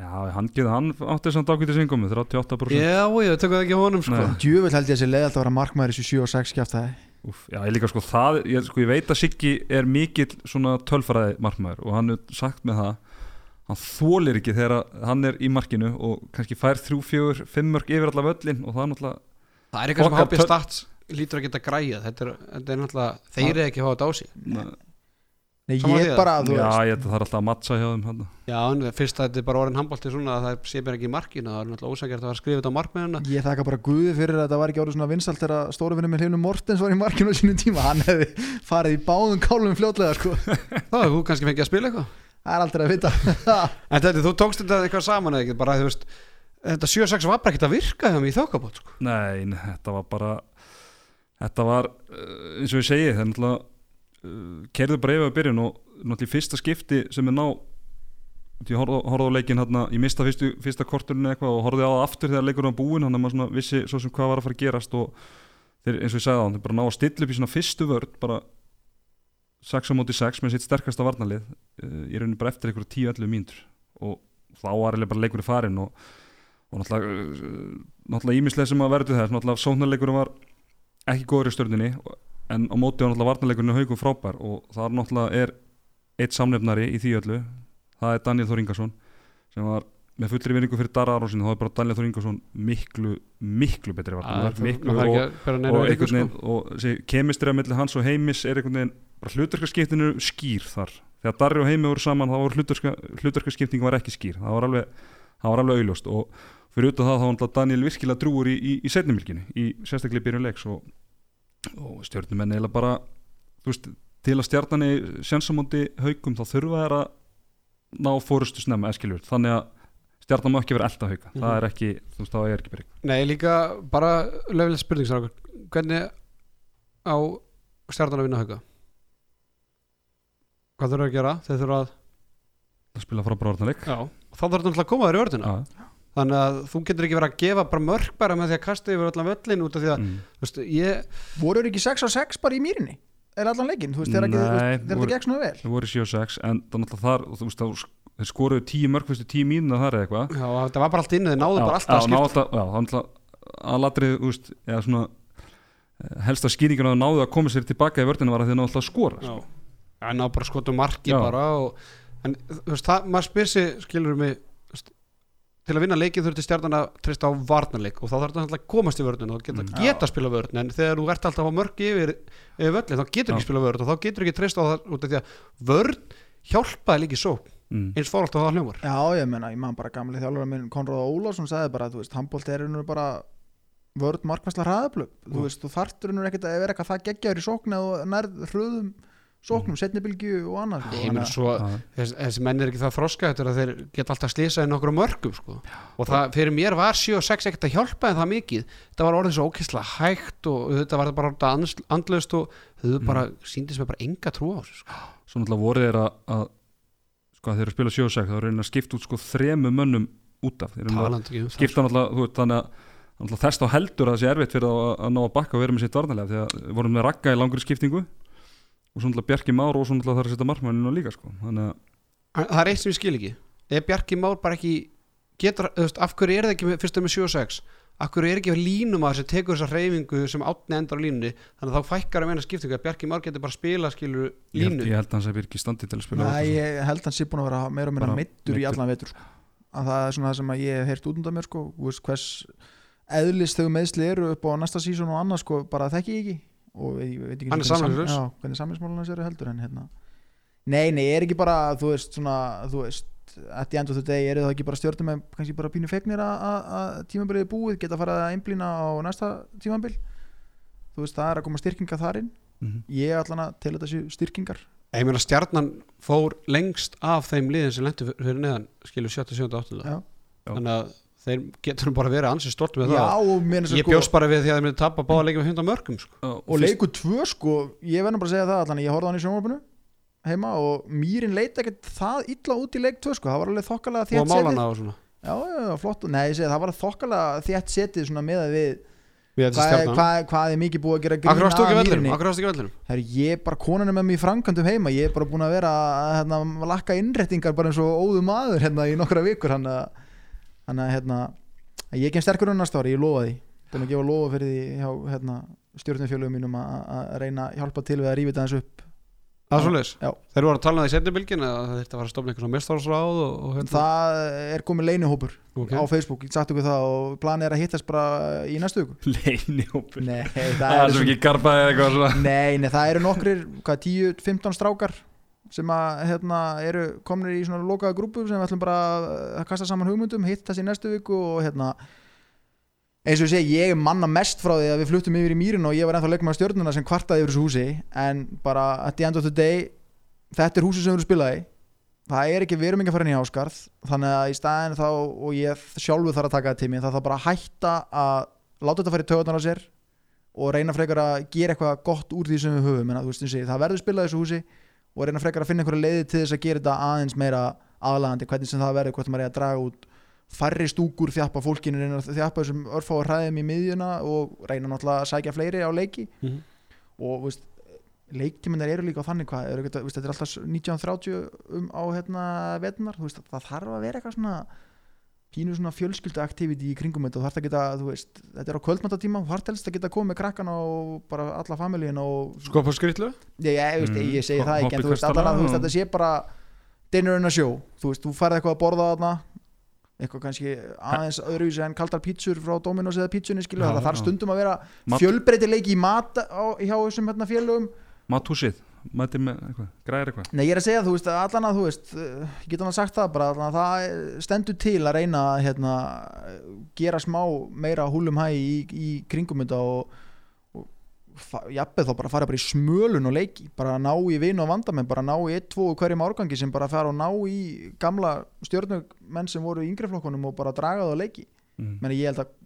já hann, getur- hann átti samt ágætis vingomi 38%
Já, já, tökum það ekki á honum sko
Nei.
Djöfull held ég að þessi leið alltaf að vera markmaður í 7 og 6 kjaftaði
Úf, já, ég líka sko það, ég, sko, ég veit að Siggi er mikill svona tölfræði markmaður og hann er sagt með það hann þólir ekki þegar að hann er í markinu og kannski fær þrjú, fjögur, fimm mörg yfir allavega öllin og það er náttúrulega
Það er eitthvað sem
Okkar
HB
töl-
Stats lítur að geta græja Þetta er, þetta er náttúrulega, þeir eru ekki að hafa þetta á sig
Nei,
Sammála
ég
því
bara, þú
já,
veist
ég, það er alltaf að matsa hjá þeim hann.
Já, en fyrst að þetta er bara orðin handbólti svona að það sé mér ekki í markinu, það er náttúrulega ósækjart að það var skrifið á markmennina
Ég þakka bara Guði fyrir að þetta var ekki orðið svona vinsalt þegar stórufinnum minn Hlynur Mortens var í markinu á sínum tíma, hann hefði farið í báðum kálum fljótlega sko,
Þá hefur þú kannski fengið að spila eitthvað
það er aldrei að vita
En þetta, þú tókst þetta eitthvað saman eða ekki bara, þú veist, þetta 7-6 var bara ekkert að virka hjá mig í þokkabót sko.
Nei, nei, þetta var bara þetta var, uh, eins og ég segi það er náttúrulega uh, kerðu bara yfir að byrjun og náttúrulega í fyrsta skipti sem er ná ég horfði horfði á leikinn hérna, ég mista fyrstu, fyrsta korturinn eða eitthvað og horfði á það aftur þegar leikurinn var búinn hann að maður svona vissi svo sem hvað var að fara að gerast og þeir, eins og ég sagði á hann, þeir bara ná að stilla upp í svona fyrstu vörð bara 6 á móti 6 með sitt sterkasta varnalið uh, ég raunin bara eftir einhverju 10-11 mínútur og þá var eiginlega bara leikurinn farinn og, og náttúrulega uh, náttúrulega ímislega sem að verður þess náttúrulega sóknarleikurinn var ekki góður í stjörninni en á móti var náttúrulega varnarleikurinn haugum frábær og þar náttúrulega er eitt samnefnari í því öllu það er Daniel Þór Ingarsson sem var með fullri vinningu fyrir Dara Aronsin þá er bara Daniel Þór Ingarsson miklu miklu betri varnarleikur miklu
og,
og,
og,
og einhvern veginn og þessi kemistri að milli hans og heimis er einhvern veginn bara hlutverkarskiptinu skýr þar þegar Darri og heimi voru saman þá var hlutverka, hlutverkarskipting var ekki skýr það var alveg, það var alveg auðljóst og fyrir utan það þá var náttúrulega Daniel virkilega drúur í, í, í setnumilginu, í sérstaklega í byrjun leiks og, og stjórnumenn eiginlega bara þú veist, til að stjarnani sensamóndi haukum þá þurfa þær að ná fórustu snemma eskiljur þannig að stjarnan má ekki vera elda hauka það er ekki, þú veist, það er ekki byrjun
Nei, líka bara löfileg spurning strákar. hvernig á stjarnan að vinna hauka? Hvað þurfa að gera? Þeir þurfa að
að spila frá bráðarnarleik
Já, og þá þarf þetta náttúrulega að koma þér í orðina Þannig að þú getur ekki verið að gefa bara mörg bara með því að kasta yfir allan völlin út af því að,
mm.
þú veist, ég,
Voru þeir ekki 6 og 6 bara í mýrinni? Er allan leikinn, þú veist, þegar ekki- þú
Nei,
veist, þegar
voru-
þetta gekk svona vel
Þeir voru 7 og 6 en það náttúrulega þar, og þú veist, þá sk- þeir skoruðu 10 mörg fyrstu 10 mínuna þar eða eitthvað
já, þetta var bara allt inni, þið náðu bara alltaf
Já, ná
að skipta
alltaf- Já, þannig að aðlatrið, þú veist, eða svona eh, helsta skýringin að það náðu að koma sér tilbaka í vördina var að þeir náðu alltaf að skora sko.
Já, Já, ná bara skotum marki
Já.
bara og, en þú veist, það, maður spyr sig skilur mig þú veist, til að vinna leikið þurfti stjarnan að treysta á varnarleik og þá þarf þetta að komast í vörnun og geta,
Mm.
geta að spila vörn en þegar þú ert alltaf á mörki yfir, yfir völlin þá getur
Já.
ekki spila vörn og þá getur ekki treysta á það út af því að vörn hjálpaði líki svo
mm.
eins fór alltaf það hljómar
Já, ég menna, ég man bara gamli þjálfur minn Konrad Ólafsson sagði bara, þú veist, handbólt er innur bara vörð markværsla hraðablöp
Mm.
þú veist, þú þarftur innur ekkert að vera eitthvað það geggjaður í sókn eða þú nærð hröðum sóknum, setni bylgju og annað sko,
Ég meina
þannig að-
svo,
Já.
þess, þessi menn er ekki það froska þetta er að þeir geta alltaf slýsað í nokkru mörgum sko. og það fyrir mér var 7 og 6 ekkert að hjálpa en það mikið, þetta var orðið svo ókesslega hægt og þetta var bara orðið ans- andlaust og þau
Mm.
bara síndist með bara enga trú á þessu sko.
Svo náttúrulega voru þeir að, að sko, að þeir eru að spila 7 og 6 þá eru þeir að skipta út sko þremu mönnum út af Þeir eru náttúrulega-
taland ekki um það
skipta náttúrulega, þú veist, þannig að náttúrulega þess þá heldur að það sé erfitt fyrir þá að, að ná að bakka og vera með sitt varnalega því að við vorum með ragga í langri skiptingu og svo náttúrulega Bjarki Már og svo náttúrulega þarf að setja markmanninu líka sko. þannig að
En það er eitt sem ég skil ekki er Bjarki Már bara ekki getur, þú veist, af hverju er það ekki með, fyrst með 7 og 6 af hverju er ekki línum að sem tekur þessa hreyfingu sem átni endar á línunni þannig að þá fækkar um eina skiptingu að Bjarki Már getur bara spila skilur
ég held,
línu
ég held að hans að byrja ekki standi til að spila
Nei,
þetta.
ég held hann sé búin að vera meira og minna
Bara
meittur í
meiddur.
allan vetur sko. að það er svona það sem að ég hef heyrt út undan mér sko, Þú veist, hvers eðlis þau meðsli eru upp á næsta sísón og annars sko, bara þekki ég ekki og ég veit ekki
Hann er
hvernig,
samningslaus.
sam, já, hvernig samlingsmálun hans eru heldur en hérna Nei, nei, er ekki bara, þú veist, svona þú veist, at the end of the day eru það ekki bara stjórnum með kannski bara pínu fegnir að- að að tímabilið er búið, geta farið að einblýna á næsta tímabil þú veist, það er að koma styrkinga þar inn
Mhm.
ég allan að tel þetta séu styrkingar
Ég meina stjarnan fór lengst af þeim liðin sem lendi fyrir neðan skilur 7. 7. 8.
Já.
Já.
Þannig að þeir getur bara verið ansið stort með
Já,
það
og mér er
Ég bjóst bara við því að þeir myndi tappa báða leikum með 100 mörgum sko.
Já,
og
fyrst-
leikur tvö sko ég verður bara að segja það allan að ég horfði á hann í sjónvarpinu heima og mýrin leita ekkert það illa út í leik tvö sko það var alveg þokkalega
og
þétt setið já,
málana og svona
já, já, flott nei, ég segi það var þokkalega þétt setið svona með að við
Við þetta
hvað,
stjarnan
hvað, hvað er mikið búið að gera
Akkur ástu ekki
að
vellinum
mýrinni
Akkur ástu ekki vellinum
Her, ég er bara konan er með mér í framkvæmdum heima ég er bara búin að vera að hérna, lakka innrettingar bara eins og óðu maður hérna í nokkra vikur hann að hann að, hérna að ég kem sterkur en næsta ári, ég lofa því búin að gefa lofa fyrir því hjá hérna, stjórnumfjölugum mínum að- að að reyna að hjálpa til við að rífið aðeins upp
Það er svoleiðis
Já.
Þeir voru að tala um það í setni bylgin að það þurfti að fara að stofna einhvern mestarásráð og, og hérna
það er komið leinihópur
Ok.
á Facebook, ég sagt okkur það og planið er að hittast bara í næstu viku
leynihópur
Nei,
það
það
er
eru
svo
svona-
ekki garbaði eða eitthvað svona
Nei, nei, það eru nokkrir, hvað, 10-15 strákar sem að, hérna, eru komnir í svona lokaða grúpu sem við ætlum bara að kasta saman hugmyndum, hittast í næstu viku og hérna eins og ég segi, ég manna mest frá því að við fluttum yfir í mýrin og ég var ennþá leikmaður stjörnuna sem kvartaði yfir þessu húsi en bara at the end of the day þetta er húsi sem við erum spilaði það er ekki, við erum ekki að fara inn í áskarð þannig að í staðin þá, og ég sjálfu þarf að taka það til mér, það þarf bara að hætta að láta þetta fara í töðunar á sér og reyna frekar að gera eitthvað gott úr því sem við höfum en að, þú veist, eins og ég segi, það verður spilað í þessu húsi og reyna frekar að finna einhverja leiði til þess að gera þetta aðeins meira aðlagandi hvernig sem það verður, hvort maður er að draga út færri stúkur, þjappa fólkinu reyna að þjappa þessum örfá og hræðum í miðjuna og reyna náttúrulega að sækja fleiri á leiki
Mhm.
og þú veist, leiktíminar eru líka á þannig hvað eru, ekki- þú veist, þetta er alltaf 1930 um, á hérna, vetnar, þú veist, það þarf að vera eitthvað svona pínu svona fjölskylda í kringum þetta og þarf að geta, þú veist, þetta er á kvöldmattatíma og þarf helst að geta komið með krakkana og bara alla familíin og
Skopa Sko, skrýtlu
ég, ég, ég, veist,
Mm.
ég segi
Ho-
það ekki en
hoppið
þú veist,
kastala
allan að þú veist,
og-
þetta sé bara dinner in a show, þú veist, þú færð eitthvað að borða þarna eitthvað kannski aðeins öðruvísi en kaldar pítsur frá Dominos eða pítsunni skilur,
Já,
það þarf
já.
stundum að vera
Mat-
fjölbreytileiki í mat á, hjá þessum hérna félögum
matúsið, mætir með eitthvað, græðir eitthvað
Nei, ég er að segja, þú veist, allan að þú veist eh, ég get hann sagt það bara, allan að það eh, stendur til að reyna að hérna, eh, gera smá meira húlum hæ í, í kringum þetta og, og fa- jafnvel þá bara fara bara í smölun og leiki, bara ná í vin og vandamenn, bara ná í 1-2 úr hverjum árgangi sem bara fara og ná í gamla stjórnumenn sem voru í yngri flokkunum og bara draga það á leiki
mm.
Meni, ég held að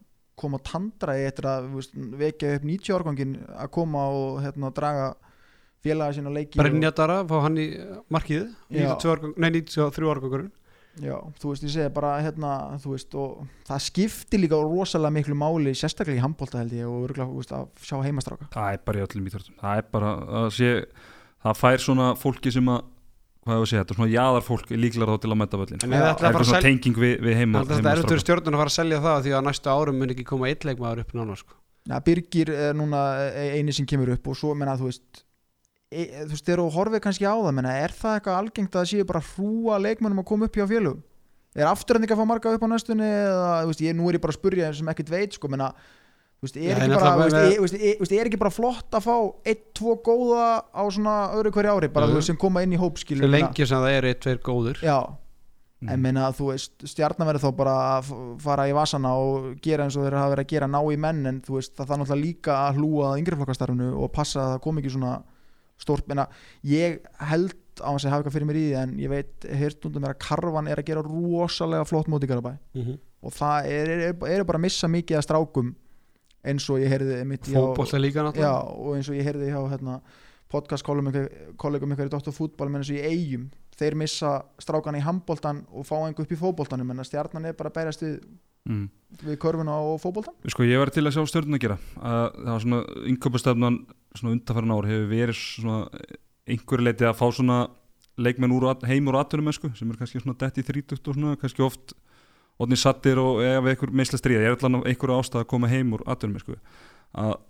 koma að tandra eftir að þú veist, vekja upp 90 árgangin að koma og hérna, draga félaga sína á leiki og-
Brynjadara, fá hann í eh, markið
Já.
92 árgang- Nei, 93 árgangurinn
Já, þú veist, ég segi bara hérna, þú veist, og það skiptir líka rosalega miklu máli, sérstaklega í handbólta held ég og örgulega, þú veist, að sjá heimastráka
það er bara í öllum íþjóttum það er bara að sé það fær svona fólki sem að hvað hefur að segja, þetta er svona jaðarfólk líklar þá til að mæta völlin
En
Já.
það
það er
ætla bara
eitthvað
að
svona
selja
tenging við, við heima,
Það er erfitt
heimastráka.
fyrir stjórnun að fara að selja það því að á næstu árum mun ekki koma eitt leikmaður upp nána sko.
Já, Birgir er núna e, eini sem kemur upp og svo, menna, þú veist e, þú veist, þegar þú horfið kannski á það menna, er það eitthvað algengt að það séu bara hrúa leikmönnum að koma upp hjá félögum er afturhending að fá marga upp á næstunni eða, þú veist, ég, nú er ég bara að spurja sem ekkert veit, sko, menna þú veist,
Já,
er,
en
ekki bara,
náttúrulega
þú veist,
með-
er, þú veist, er, þú veist, er ekki bara flott að fá eitt, tvo góða á svona öðru hverju ári, bara
Jú.
þú veist, sem koma inn í hópskilur
Svo lengi sem það er eitt, tveir góður
Já,
Mm.
en meina að þú veist stjarnar verður þá bara að f- fara í vasana og gera eins og þeir hafa verið að gera ná í menn en þú veist það þarf náttúrulega líka að hlúa að yngreflokkastarfinu og passa að það kom ekki svona stórt, meina ég held á hans að hafa eitthvað fyrir mér í því en ég veit, heyrt undan mér að Karvan er að gera rosalega flott móti í Garabæ og það eru er, er eru bara að missa mikið að strákum eins og ég heyrði mitt
Fótbolta líka
Já,
náttúrulega
og eins og ég heyrði hjá hérna, podcast kollegum ykkar, kollegum ykkar í Dr. Fútbol menn þessu í eigum, þeir missa strákan í handboltan og fá einhver upp í fótboltanum en að stjarnan er bara að berjast við,
mm.
við körfuna og fótboltan
Sko ég var til að sjá stjórnum að gera að það var svona yngöpastefnan svona undanfæran ár hefur verið svona einhverju leiti að fá svona leikmenn úr, at- heim úr aðtunum sem er kannski svona dett í 30 og svona kannski oft odni sattir og ef einhver meðsla stríða, ég er allan af einhverju ástæð að koma heim úr aðtunum að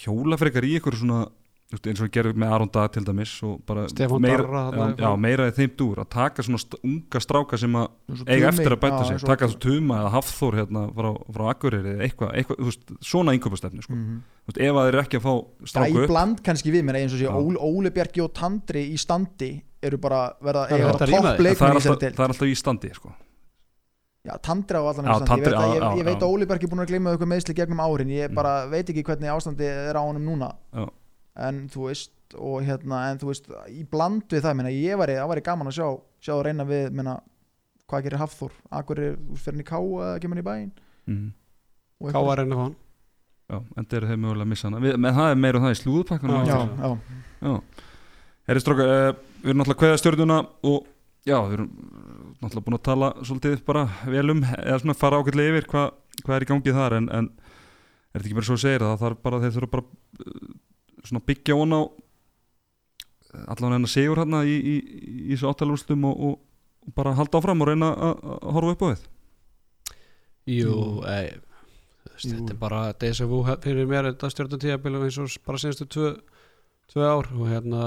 hjóla frekar í einhverju svona þú veist, eins og við gerum með Aron Dag til dæmis og bara
Stefán Darra
já,
þarna.
já, meira í þeim dúr að taka svona st unga stráka sem að eiga eftir að bæta sig, taka þú tuma eða hafþór hérna frá, frá Akureyri eða eitthvað, eitthvað þú veist, svona yngöpastefni sko.
mm
Þú veist, ef að þeir eru ekki að fá
Það
stráku
í
upp
bland kannski við, mér eins og sé
Já.
Óli, Óli Bjarki og Tandri í standi eru bara verða
Það er
eiga
hægt að
bara
rýma
en það er,
þig.
topp leikmenn í
alltaf,
þessari deild
það er alltaf í standi sko.
Já, Tandri á allan
Já,
ástandi, ég
Tandri,
veit,
já,
að, ég,
já,
ég veit
já.
að Óli Bergi búin að gleyma ykkur meðsli gegnum árin, ég
Mm.
bara veit ekki hvernig ástandi er á honum núna
Já.
en þú veist, og hérna en þú veist, í bland við það, minna, ég væri það væri gaman að sjá, sjá að reyna við minna, hvað gerir Hafþór, akkur er fyrir henni Ká að kemur hann í bæinn
mm.
og
Ká
eitthvað-
var reyna fá hann
já, en þeir eru þeir mögulega að missa hana Við- menn það er meira um það í slúðupakkanum
Já.
Já, já,
Herri stróka, uh, við erum náttúrulega kveða stjórnuna og já, við erum náttúrulega búin að tala svolítið bara vel um eða svona fara ákveðlega yfir hvað hva er í gangi þar en, en er þetta ekki bara svo að segja það þarf bara, þeir þurfa bara uh, svona byggja von á eh, allan hennar sigur hérna í, í, í þessu áttalúrstum og, og, og bara halda áfram og reyna að að horfa upp á við
Jú,
Jú.
ei, þú veist,
Jú.
þetta er bara deja vu fyrir mér þetta stjórnum tíðabili eins og bara senstu tvö, tvö ár og hérna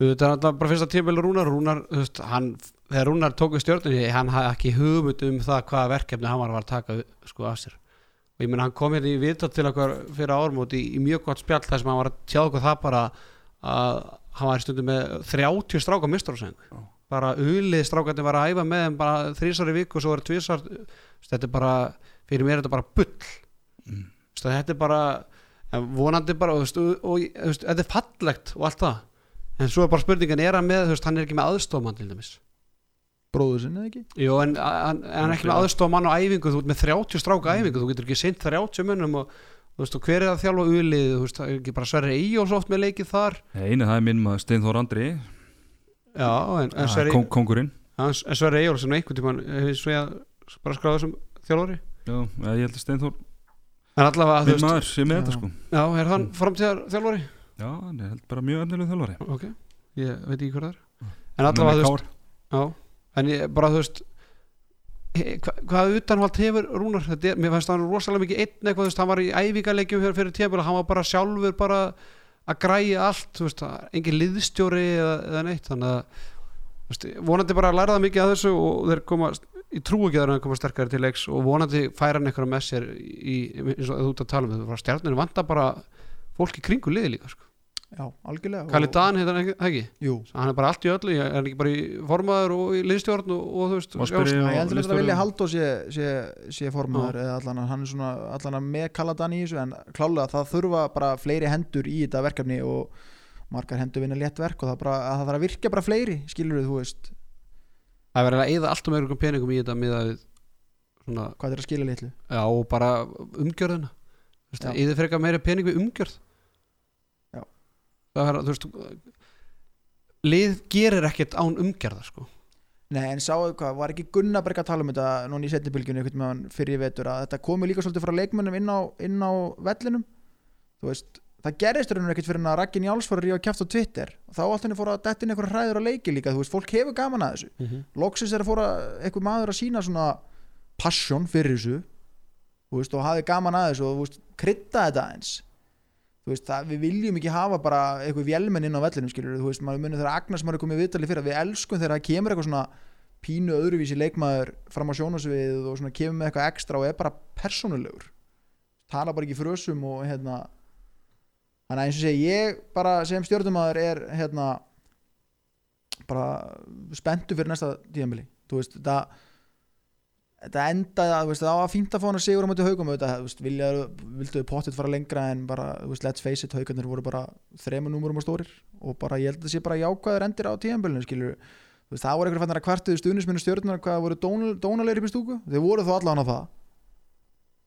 þetta er alltaf bara fyrsta tíðabili Rúnar Rúnar, þú veist, hann þegar Rúnar tók við stjórnum, hann hafði ekki hugmynd um það hvaða verkefni hann var að taka sko af sér og ég meina hann kom hérna í viðtal til okkar fyrir ármót í, í mjög gott spjall þar sem hann var að tjá okkur það bara að hann var í stundum með 30 stráka misturseng
Já.
bara ulið strákandi var að æfa með þeim bara þrísar í viku og svo er tvísar þetta er bara, fyrir mér er þetta bara bull
Mm.
Þú veist, þetta er bara en vonandi bara þú veist, og, og þú veist, þetta er fallegt og allt það en svo er bara spurningin, er hann með þú veist, hann er ekki með aðstofmann til dæmis
bróður sinni eða ekki
Jó, en hann hann er ekki með aðstofmann á æfingu þú ert með 30 stráka æfingu, þú getur ekki sint 30 munum og, þú veist, og hver er að þjálfa ulið, þú veist, það er ekki bara sverri í og svo oft með leikið þar
einu það er minn maður Steinþór Andri
Já, en, en
ah,
sverri
kong, kongurinn
Já, en en Sverre Eyjólfsson einhvern tímann hefur svo ég að bara skráða sem þjálfari
já, eh, ég held að Steinþór
en allavega þú
minn
veist,
maður sé með
Já.
þetta sko
já, er hann framtíðar þjálfari
já, hann er held bara mjög efnilegu þjálfari
ok, ég veit ekki hvað það er en allavega
Menn með
þú veist, já en ég bara þú veist he- hva, hvað utanvald hefur Rúnar þetta er, mér fannst hann rosalega mikið einn eitthvað þú veist, hann var í æfingalegjum hér fyrir tíðabila hann var bara sjálfur bara að græja allt þú veist, það- engin liðstjóri eða, eða neitt þannig að þú veist, vonandi bara að læra það mikið að þessu og þeir koma ég trú ekki að þeir koma sterkari til leiks og vonandi færa hann eitthvað með sér í, eins og þú ert að tala um þetta stjarnir vanda bara fólk í kringu liði líka sko.
Já, algjörlega
Kalli
og-
Dan heitir hann ekki, ekki
Jú,
hann er bara allt í öllu, ég- hann er ekki bara í formaður og í liðstjórn og, og þú veist
Má
já, sko.
spyrja- um-
Nei, ég heldur að
liðstjóri-
Vilja Haldó sé, sé, sé formaður eða allan að hann er svona allan að með Kaladan í þessu en klálega það þurfa bara fleiri hendur í þetta verkefni og margar hendur vinna létt verk og það, bara, að það þarf að virka bara fleiri skilur þú veist
það er verið að eyða alltaf með einhverjum peningum í þetta með að svona,
hvað er að skila litlu
já, og bara umgjörðina þú veist,
Já.
eyða frekar meira pening við umgjörð
Já.
það er, þú veist lið gerir ekkert án umgjörða sko.
Nei en sáðu hvað, var ekki Gunnarberg að tala um þetta núna í setjubylginu einhvern meðan fyrir í vetur að þetta komi líka svolítið frá leikmönnum inn á, inn á vellinum þú veist það gerist raunum ekkert fyrir hann að Raggi Njáls fór að ríða kjæft á Twitter þá allt henni fór að detti inn einhver hræður á leiki líka þú veist, fólk hefur gaman að þessu
Mm-hmm.
loksins er að fóra einhver maður að sína svona passion fyrir þessu þú veist, og hafi gaman að þessu og þú veist, krydda þetta eins þú veist, það, við viljum ekki hafa bara einhver vélmenn inn á vellinum skilur þú veist, maður munið þegar Agnes maður er komið viðtalið fyrir að við elskum þegar það kemur eitthvað svona pínu öðruvísi leikmaður fram á sjónasvið og svona kemur með eitthvað ekstra og er bara persónulegur tala bara ekki frösum og hérna þannig að eins og segi ég bara sem stjórnumadur er hérna bara spenntu fyrir næsta tíðanbili þú veist, þetta þetta endaði að, þú veist, það var fínt að fá hann að sigur á mæti haugum, auðvitað, þú veist, vilja vildu pottit fara lengra en bara, þú veist, let's face it haugarnir voru bara þremur númurum á stórir og bara, ég held að það sé bara jákvæður endir á tíðanbilinu, skilur, þú veist, það voru eitthvað fannar að kvartuðu stuðnisminu stjórnar hvað það voru dónal- dónalegir upp í stúku, þeir voru þó allan á það,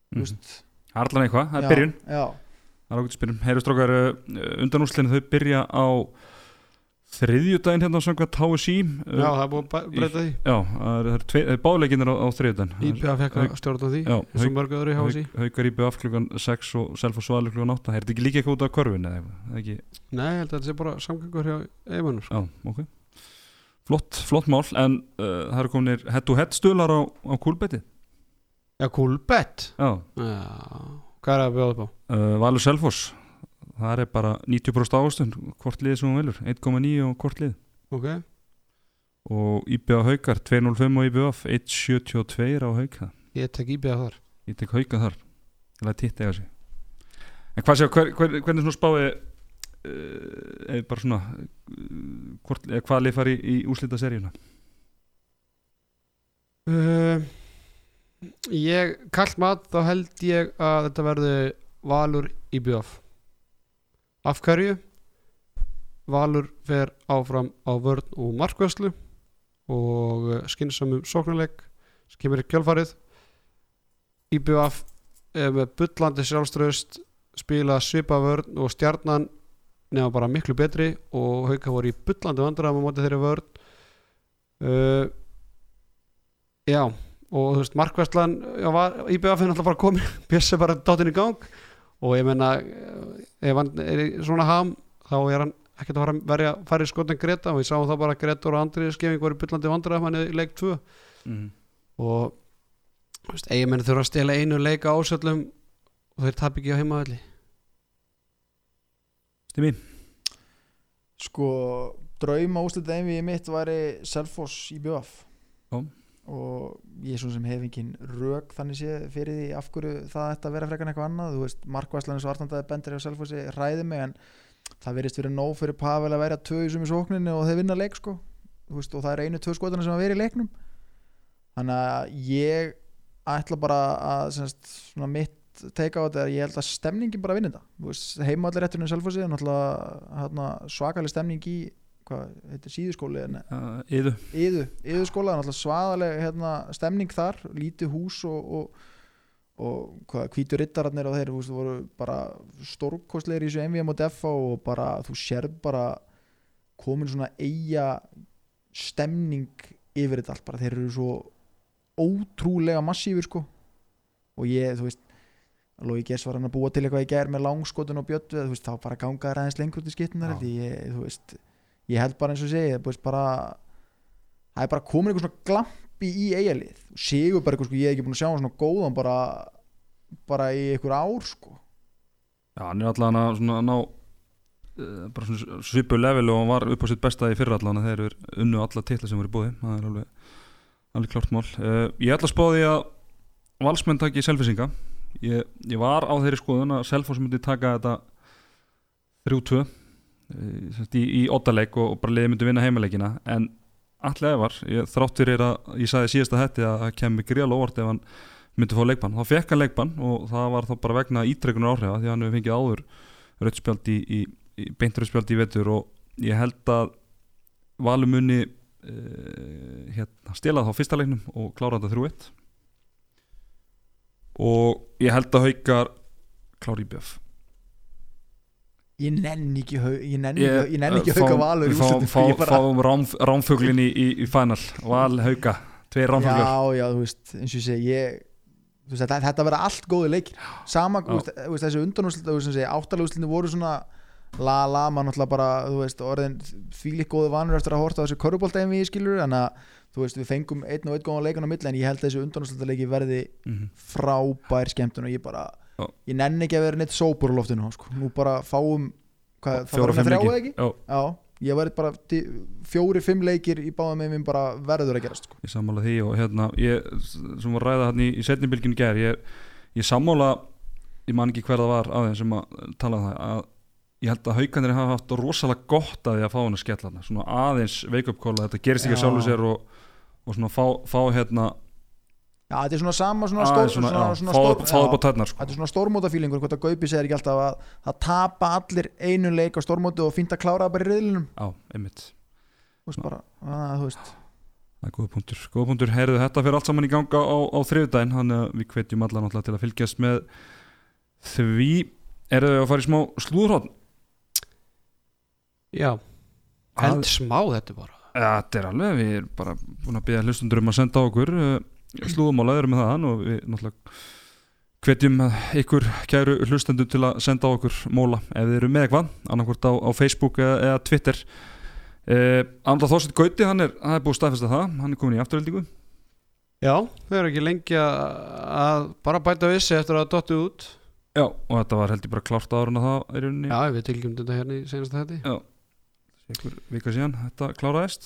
þú
Mhm.
veist
Það er allan eitthvað, það
já,
er byrjun
já,
Það er ágætt spyrum. Heyrustrókar, undanúslinu þau byrja á þriðjudaginn hérna á samkvæmt HSI. Uh,
Já, það er búið að breyta því
Já, það eru- það eru tvei- það eru báleikinnir á, á þriðjudaginn. Það er-
IPA fekk að stjórna því
Já,
eins og mörg öðru í hási
Hauk- Haukar í BF klukkan 6 og Selfoss Valur klukkan 8. Það er þetta ekki líka eitthvað út af körfinu eða eitthvað? Það er ekki
Nei, ég held að þetta sé bara samgöngur hjá sko. Eymann
Já, ok Flott, flott mál, en uh, það eru kominir head to head stuðlar á, á kúlbeti
Já, Kulbett
Já,
Já, hvað er að bjóða upp á?
uh, Valur Selfoss það er bara 90% áhustun hvort liðið sem hún velur, 1,9 og hvort lið
Ok,
og IBA Haukar 2,05 og IBF 1,72 á Hauka
ég tek IPA þar
ég tek Hauka þar, ég laði titta eiga sig En hvað séu, hver, hver, hvernig svona spáði uh, eða bara svona uh, hvort, eða hvað lið fari í, í úslita seríuna?
uh, Ég, kallt mat þá held ég að þetta verði Valur IPA Af hverju? Valur fer áfram á vörn og markvæslu og eh, skynsamum sóknuleik sem kemur í kjálfarið IBF er eh, með bullandi sjálfströðst spila svipa vörn og stjarnan nema bara miklu betri og hauka voru í bullandi vandræðum á móti þeirri vörn uh, Já og þú veist markvæslan IBF er náttúrulega bara komin Bjössi er bara dátinn í gang og ég menna ef hann er í svona ham þá er hann ekkert að fara að verja fara í skotin Greta og við sáum það bara að Greta og Andri skefing voru í bullandi vandræðum hann í leik 2
Mm.
og þú veist, eigamenn þurfa að stela einu leika ásöllum og þeir tap ekki á heimavalli
Stimmi?
Sko, drauma úslita einvið mitt væri Selfoss í BF
Já.
og ég er svona sem hef engin rök þannig sé fyrir því af hverju það ætti að vera frekar en eitthvað annað þú veist, markvæslan eins og artandæði bendir á Selfossi ræði mig en það verist verið nóg fyrir Pavel að vera tvö í sumi sókninni og þeir vinna leik sko Þú veist, og það er einu tvö skotana sem að vera í leiknum þannig að ég ætla bara að semst, svona mitt teika á þetta er að ég held að stemningin bara vinna þetta heimallir rétturinn í Selfossi er náttúrulega hana, svakaleg stemning í hvað, heitir síðuskóli en
Uh, Eðu?
yðu, yðu skóla náttúrulega svaðaleg hérna, stemning þar, lítið hús og, og, og hvað, hvítu rittararnir og þeir þú veist, voru bara stórkostlegir í þessu MVM og DFA og bara, þú sér bara komin svona eiga stemning yfir þetta allt bara, þeir eru svo ótrúlega massífur sko og ég, þú veist Lói Gers var hann að búa til eitthvað í gær með langskotun og bjött þú veist, þá bara ganga þær aðeins lengur til
Já.
skittunar því ég, þú veist, ég held bara eins og segi, þú veist, bara það er bara komin eitthvað svona glampi í eigalið og sigur bara eitthvað, sko, ég hef ekki búin að sjá hann svona góðan bara, bara í einhver ár, sko
Já, hann er allan að svona ná eh, bara svona svipu level og hann var upp á sitt besta í fyrra allan að þeir eru unnu alla titla sem eru búið, það er alveg alveg klart mál. Uh, ég ætla að spá því að valsmenn taki selfisinga ég, ég var á þeirri skoðun að Selfoss myndi taka þetta 3-2 uh, í, í ottaleik og, og bara liði myndi vinna heimaleikina en allega var, ég, þrátt fyrir að ég sagði síðasta hætti að það kemur gríal óvart ef hann myndi fá leikbann, þá fekk hann leikbann og það var þá bara vegna ítrekunar áhrifa því að hann hefur fengið áður rauðspjald í, í, í beintröðspjald í vetur og ég held að Valur muni uh, hérna, stelað þá fyrsta leiknum og klára þetta 3-1 og ég held að haukar klára í bjöf
ég nenni ekki, hau- ég nenni
Ég- eh,
ekki, ég nenni ekki
fáum-
hauka valur í
við fáum,
úrslitum,
fáum,
ég bara-
fáum rám, rámfuglin í, í, í final Val hauka, tveir rámfuglar
já, já, þú veist, eins og ég segi ég, þú veist, þetta, þetta verða allt góði leikir sama,
Já.
þú veist, þú veist, þessi undanúslita áttalúslita voru svona la la, maður náttúrulega bara, þú veist, orðin þvílík góði vanur eftir að horta á þessu körubólta en við skilur, en að, þú veist, við fengum einn og einn góðan leikan á milli, en ég held að þessi undanúslita leiki verði
mm
frábær skemmtun og ég bara,
Já.
ég nenni ekki að vera neitt sópur á loftinu, sko, nú bara fáum hvað, það voru með þrjá eða ekki?
já,
Já, ég verði bara di- fjórir, fimm leikir í báðum með mér bara verður að gerast, sko
ég sammála því og hérna ég, sem var að ræða hérna í, í setnibylginu ger ég, ég sammála ég man ekki hver það var aðeins sem að tala um það að ég held að haukandir hafa haft rosalega gott að því að fá hann að skella hana svona aðeins veikupkóla, þetta gerist ekki að
Já.
sjálfu sér og, og svona fá, fá hérna
Já, þetta er svona sama svona stór,
aðeins svona,
svona,
já,
svona
fá
stór,
upp- fá upp á
já,
tærnar sko.
Þetta er svona stórmótafílingur hvort að Gaupi segir ekki alltaf að það tapa allir einu leik á stórmóti og fínt að klára það bara í riðlinum
já, einmitt
Þú veist bara, að, þú veist
Það er góða punktur, góða punktur, heyrðu þetta fyrir allt saman í ganga á, á þriðudaginn, þannig að við hvetjum alla náttúrulega til að fylgjast með því Eru þau að fara í smá slúðrótt?
já, held smá þetta bara
Þetta er alveg, við erum bara búin að bíða hlustundur um að senda á okkur uh, slúðumála erum með það og við náttúrulega hvetjum ykkur kæru hlustendur til að senda á okkur móla ef þið eru með eitthvað, annarkvort á, á Facebook eða, eða Twitter uh, Andra Þorsett Gauti, hann er, hann er búið staðfesta það hann er komin í afturöldingu
já, þau eru ekki lengi að að bara bæta vissi eftir að það dotti út
Já, og þetta var heldur bara klárt áður en að það er unni
já, við tilgjum þetta hérna í senast þetta
ykkur vika síðan þetta kláraðist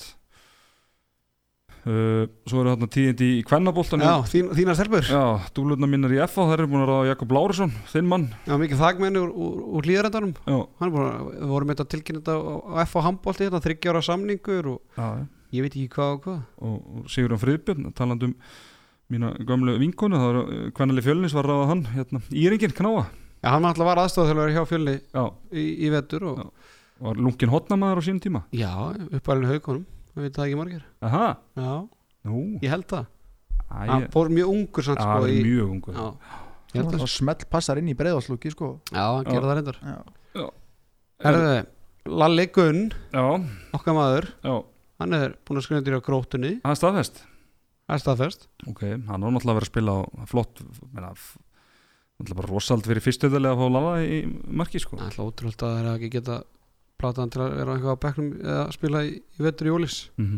uh, Svo eru þarna tíðindi í kvennabóltanum
já, þín, þína stelpur,
Já, dúlutna mínar í FA, þær eru búin að ráða Jakob Lárusson, þinn mann
já, mikið þagmenn úr, úr, úr líðarendanum
Já,
hann er bara, við vorum eitthvað tilkynna þetta á- á F á handbólti hérna, þryggjára samningur og
já já.
ég veit ekki hvað og hvað
og, og Sigurðan Friðbjörn, talandi um mína gamlu vinkonu, það var kvennali fjölnis var að ráða hann, hérna, Íringin Knáa
já, hann alltaf var aðstofað þegar hjá fjölni
Já,
í, í vetur og
var lunkin hotnamaður á sínum tíma
já, uppalinn haugunum það veit það ekki margir
Aha,
já,
nú,
ég held það,
æ,
hann fór mjög ungur samt
það
sko
var
í,
mjög ungur
já, ég held
og
það
smelt passar inn í breiðarslúki sko.
já, hann
Já.
gerði það reyndar
Já.
Er-
Herðu, Lalli Gunn,
Já,
okkar maður
já,
hann er búin að skrifa undir á grótunni
hann er staðfest
það er staðfest
Ok, hann var náttúrulega að vera að spila á flott, menna, f- náttúrulega bara rosald fyrir fyrstöðlega að fá Lala í marki, sko
það er alltaf ótrúld að það er ekki geta platan til að vera eitthvað á bekknum eða spila í, í vetur í ólís
Mhm.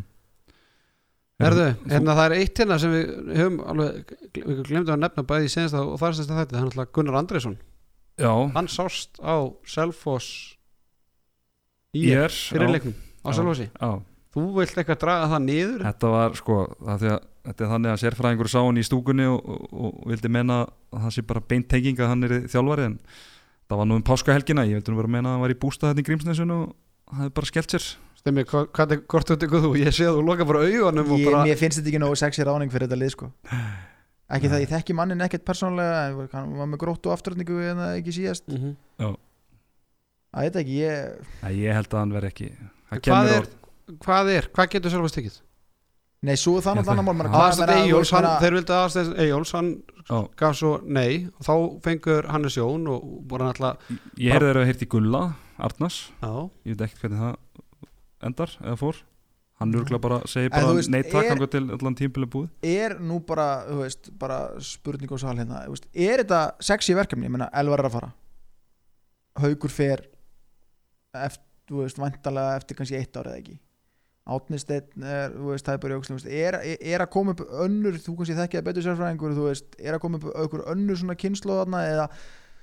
Herðu, hérna það er eitt hérna sem við höfum alveg, við glemdum að nefna bæði í senasta og farstasta þetta, það er náttúrulega Gunnar Andriðsson
Já,
hann sást á Selfoss í
ég er
fyrir leiknum á
Já.
Selfossi,
Já,
þú vilt eitthvað draga það niður
Þetta var sko það því að, þetta er þannig að sérfræðingur sá hann í stúkunni og, og, og vildi menna að það sé bara beint tenging að hann er þjálfari en það var nú um páskahelgina ég vildi nú bara menna að hann var í bústað hérna í Grímsnesun og hann hefði bara skellt sér
Stemmi, hva- hvað er hvort þú tekur þú, ég sé að þú loka bara augunum og
ég,
bara,
mér finnst þetta ekki nógu sexy ráning fyrir þetta lið sko. ekki það ég þekki mannin ekkert persónulega en hann var með gróttu afturöndingu en það ekki síðast
mm
að þetta ekki ég
Nei, ég held að hann veri ekki það
Hvað
kemur
er-
orð
hvað er, hvað getur Selfoss tekið?
nei svo er það
Ég
náttúrulega annar mál maður- hvað
Aðstætt
meina, þú
Eyjóls,
veist,
hann,
bara-
þeir vildi aðstætt Eyjóls, hann
Já.
gaf svo nei og þá fengur Hannes Jón og og bara náttúrulega,
Ég heyrði þeirra hirt í Gulla, Arnars
já,
ég veit ekkert hvernig það endar eða fór hann örgulega bara segir
En þú
bara
veist,
neittak
er-
er... til allan tímpileg búið
er nú bara, þú veist, bara spurning og sal hérna, þú veist, er þetta sexy verkefni, ég meina Elvar er að fara Haugur fer eftir, þú veist, vantarlega eftir kannski eitt ár eða ekki Átnisteinn er, þú veist, tæpur í ógslum veist, er, er að koma upp önnur, þú kannski þekki það betur sérfræðingur, þú veist, er að koma upp önnur, önnur svona kynnslóð þarna eða,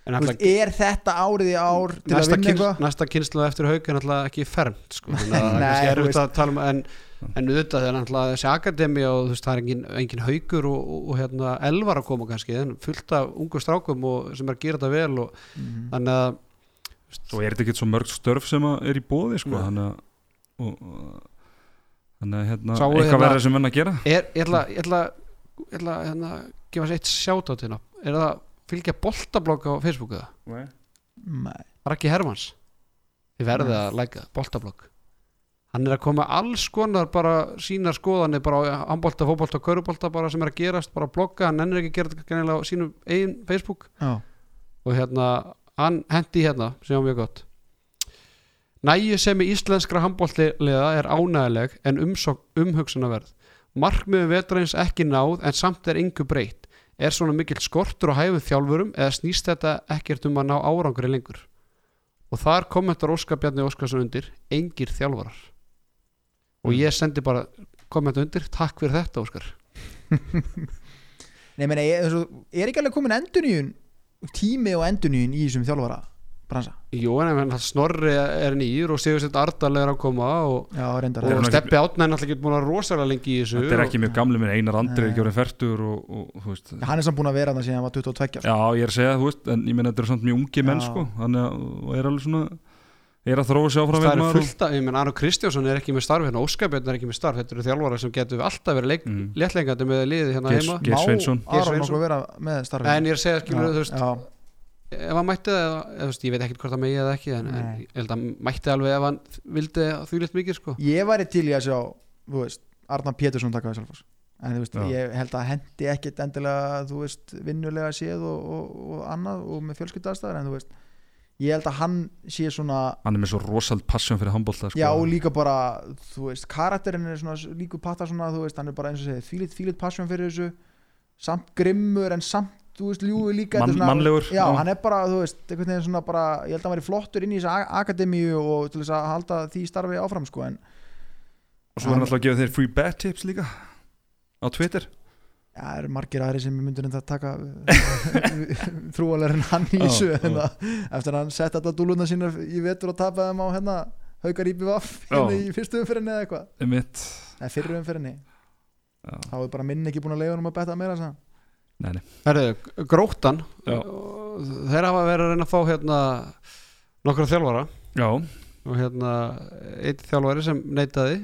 en
þú
náttúrulega
veist, er þetta árið í ár til að
næsta,
vinna
kyns,
eitthvað
næsta kynslu eftir haug er náttúrulega ekki fermt sko. þannig að það
Nei,
kannski er
þú
erfitt að tala um en, en auðvitað þegar náttúrulega þessi akademi og þú veist það er engin, engin haugur og, og, og hérna, elvar að koma kannski en fullt af ungu strákum og, sem er að gera þetta vel og,
Mhm.
þannig að
svo er þetta ekki svo mörg störf sem að er í bóði sko,
Nei.
þannig að og, og- þannig að hérna,
Sáu
eitthvað
hérna-
verður sem menn að gera
er, ég ætla ég ætla, ég ætla hérna, gefa sér eitt sjátt á tína er það að fylgja boltablokk á Facebooku það
Nei.
Nei,
Raki Hermans þið verðið að læka boltablokk hann er að koma með alls konar bara sínar skoðanir bara á handbolta, fótbolta, körubolta bara sem er að gerast bara að blogga, hann ennir ekki að gera þetta greinilega á sínum eigin Facebook
já,
og hérna, hann hendi í hérna sem var mjög gott Næju sem í íslenskra handboltliða er ánægileg en umsók, umhugsunarverð Markmiðum veturins ekki náð en samt er yngu breytt Er svona mikill skortur og hæfu þjálfurum eða snýst þetta ekkert um að ná árangri lengur og þar kommentar Óskar Bjarni Óskarsson undir engir þjálfarar og ég sendi bara kommenta undir, takk fyrir þetta Óskar
nei, meni, er, er ekki alveg komin endurnýjun tími og endurnýjun í þessum þjálfara bransa,
Jó, en ef hann- snorri er nýr og segur þetta artarlega að koma og,
já, reyndar
Þeir eru
og
nú ekki-
steppi átna er náttúrulega ekki búin að rosalega lengi í þessu
þetta er ekki mjög gamli minn Einar Andri
Nei.
ekki orðin færtur og, og þú veist
Já, hann er samt búin að vera þarna síðan hann var 22 sko.
já ég er að segja þú veist en ég meina þetta er samt mjög ungi menn
Já.
sko þannig að og er alveg svona er að þróa sig
og
áfram hérna vel
það er
maður
fullt að, ég menn Arnur Kristjánsson er ekki með starf hérna, Óskar Björn er ekki með starf þetta eru þjálfarar sem getur alltaf verið leik,
og, mm.
léttlengandi með liðið hérna
Geirs-
heima
Geir Sveinsson.
Má Aron
Sveinsson.
okkur vera með starfi
en ég er að segja, skilur, þú veist
já,
ef hann mætti það, eða- eða, þú veist, ég veit ekkert hvort það megi eða ekki, en, en
Nei.
ég held að hann mætti alveg ef hann vildi því litt mikið, sko
Ég væri til í að sjá þú veist, Arnar Pétursson takaði Selfoss en þú veist,
Já.
ég held að hendi ekkit endilega þú veist, vinnulega séð og, og, og annað og með fjölskyldaðstæðar en þú veist ég held að hann sé svona
hann er með svo rosald passion fyrir handbólta sko.
já og líka bara, þú veist, karakterinn er svona líku patta svona, þú veist, hann er bara eins og segið þvílitt, þvílitt passion fyrir þessu samt grimmur en samt, þú veist, ljúi líka
Man,
þetta er svona-
mannlegur
Já, hann er bara, þú veist, einhvern veginn svona bara ég held að hann væri flottur inn í þessa a- akademíu og til þess að halda því starfi áfram sko, en
og svo er hann alltaf að gefa þeir free bet tips líka á Twitter
já, það eru margir aðri sem myndur en það taka þrúalegur en hann í
Já,
þessu
já.
en það, eftir að hann sett alltaf dúluna sína í vetur og tapaði þeim á hérna haukar íbjöf af
Já.
hérna í fyrstu umfyrinni eða eitthvað
mitt
eða fyrru umfyrinni,
já.
þá er bara minn ekki búin að leiða hann að betta meira sann
Herðu, gróttan
Já.
þeir hafa verið að reyna að fá hérna nokkra þjálfara
já,
og hérna einn þjálfari sem neitaði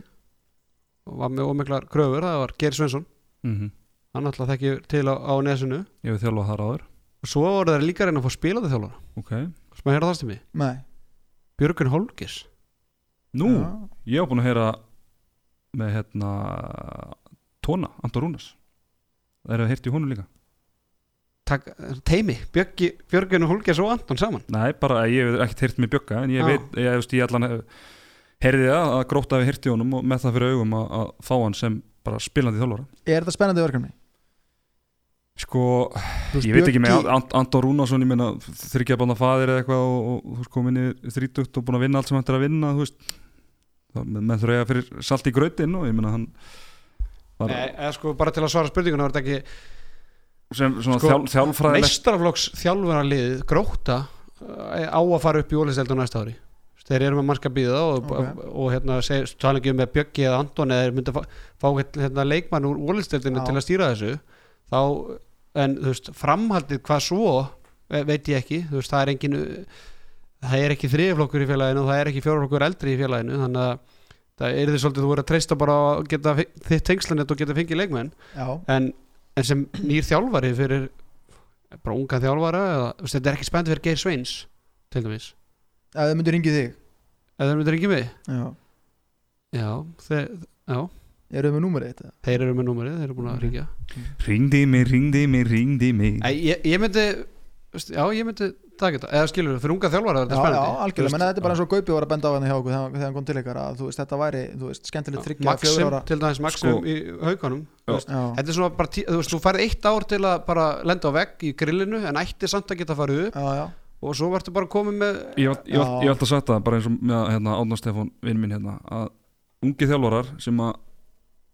og var með ómiklar kröfur, það var Geir Svensson
mm
hann alltaf þekki til á, á nesinu
ég hef þjálfað þar áður
og svo voru þeir líka að reyna að fá spilandi þjálfara
ok,
sem að heyra það stími,
Nei,
Björgun Holgis
nú, ég hef búin að heyra með hérna Tóna, Andor Rúnas það eru að heyrta í honum líka
tak, teimi, Björgi, Björgun Holgis og Anton saman
nei, bara ég hef ekkert heyrt með Bjögga en ég
Já.
veit, ég, ég, veist, ég allan hef- heyrði það að gróta við heyrti í honum og með það fyrir augum að, að fá hann sem bara spilandi þjálfara
er þetta spennandi verkefni?
sko,
Þú veist,
ég veit ekki með
Bjöggi-
And- Andor Rúnarsson, ég meina þryggja banna faðir eða eitthvað og, og þú veist komin í þrítugt og búin að vinna allt sem hægt er að vinna þú veist, það, með, með þröja fyrir salt í grötin og ég meina hann var,
e, eða sko bara til að svara spurninguna var þetta ekki
sem svona
sko,
sko, þjálfræðilegt
meistaraflokks þjálfaralið gróta eh, á að fara upp í ólinsdeldu næsta ári þeir eru með marga bíða og,
Ok.
og, og hérna, seg- tala ekki um með Bjöggi eða Anton eða þeir myndu að fá, fá hérna, leikmann úr ólinsdeldinu
Já.
til að stýra þessu þá, en þú veist, framhaldið hvað svo eh, veit ég ekki þú veist, það er engin það er ekki þriðflokkur í félaginu og það er ekki fjóraflokkur eldri í félaginu þannig að það er þið svolítið þú verður að treysta bara á að geta fi- þitt tengslanett og geta fengið leikmenn
Já,
en, en sem nýr þjálfari fyrir bara unga þjálfara eða, þú veist, þetta er ekki spennt fyrir Geir Sveins til dæmis,
ef þau myndur ringið þig
eða þeir myndir ekki mig
Já,
já, þeir, já, Mhm.
eru þau með númerið þetta?
þeir eru með númerið þeir eru búin að ringja
ringdi mig, ringdi mig, ringdi mig
Æ, ég, ég myndi, þú veist, já, ég myndi taka þetta, eða skilur fyrir unga þjálfara er
Já,
þetta
já,
spennandi
algjörlega,
Þú
menn þetta er bara
já.
eins og Gaupi var að benda á hérna hjá okkur þegar, þegar hann kom til ykkar að þú veist, þetta væri, þú veist, skemmtilegt
veist,
þryggja að
Maxim,
fjögur ára
til dæmis Maxim
Sko-
í haugunum
Já.
Já,
þetta er svona bara, tí- þú veist, þú færð eitt ár til að bara lenda á vegg í grillinu en ætti samt að geta farið upp
já, já,
og svo verður bara komið með
ég var- ég var-
Já.
ég var alltaf sagt það bara eins og með hérna, Átnar Stefán vinn minn hérna að ungi þjálfarar sem að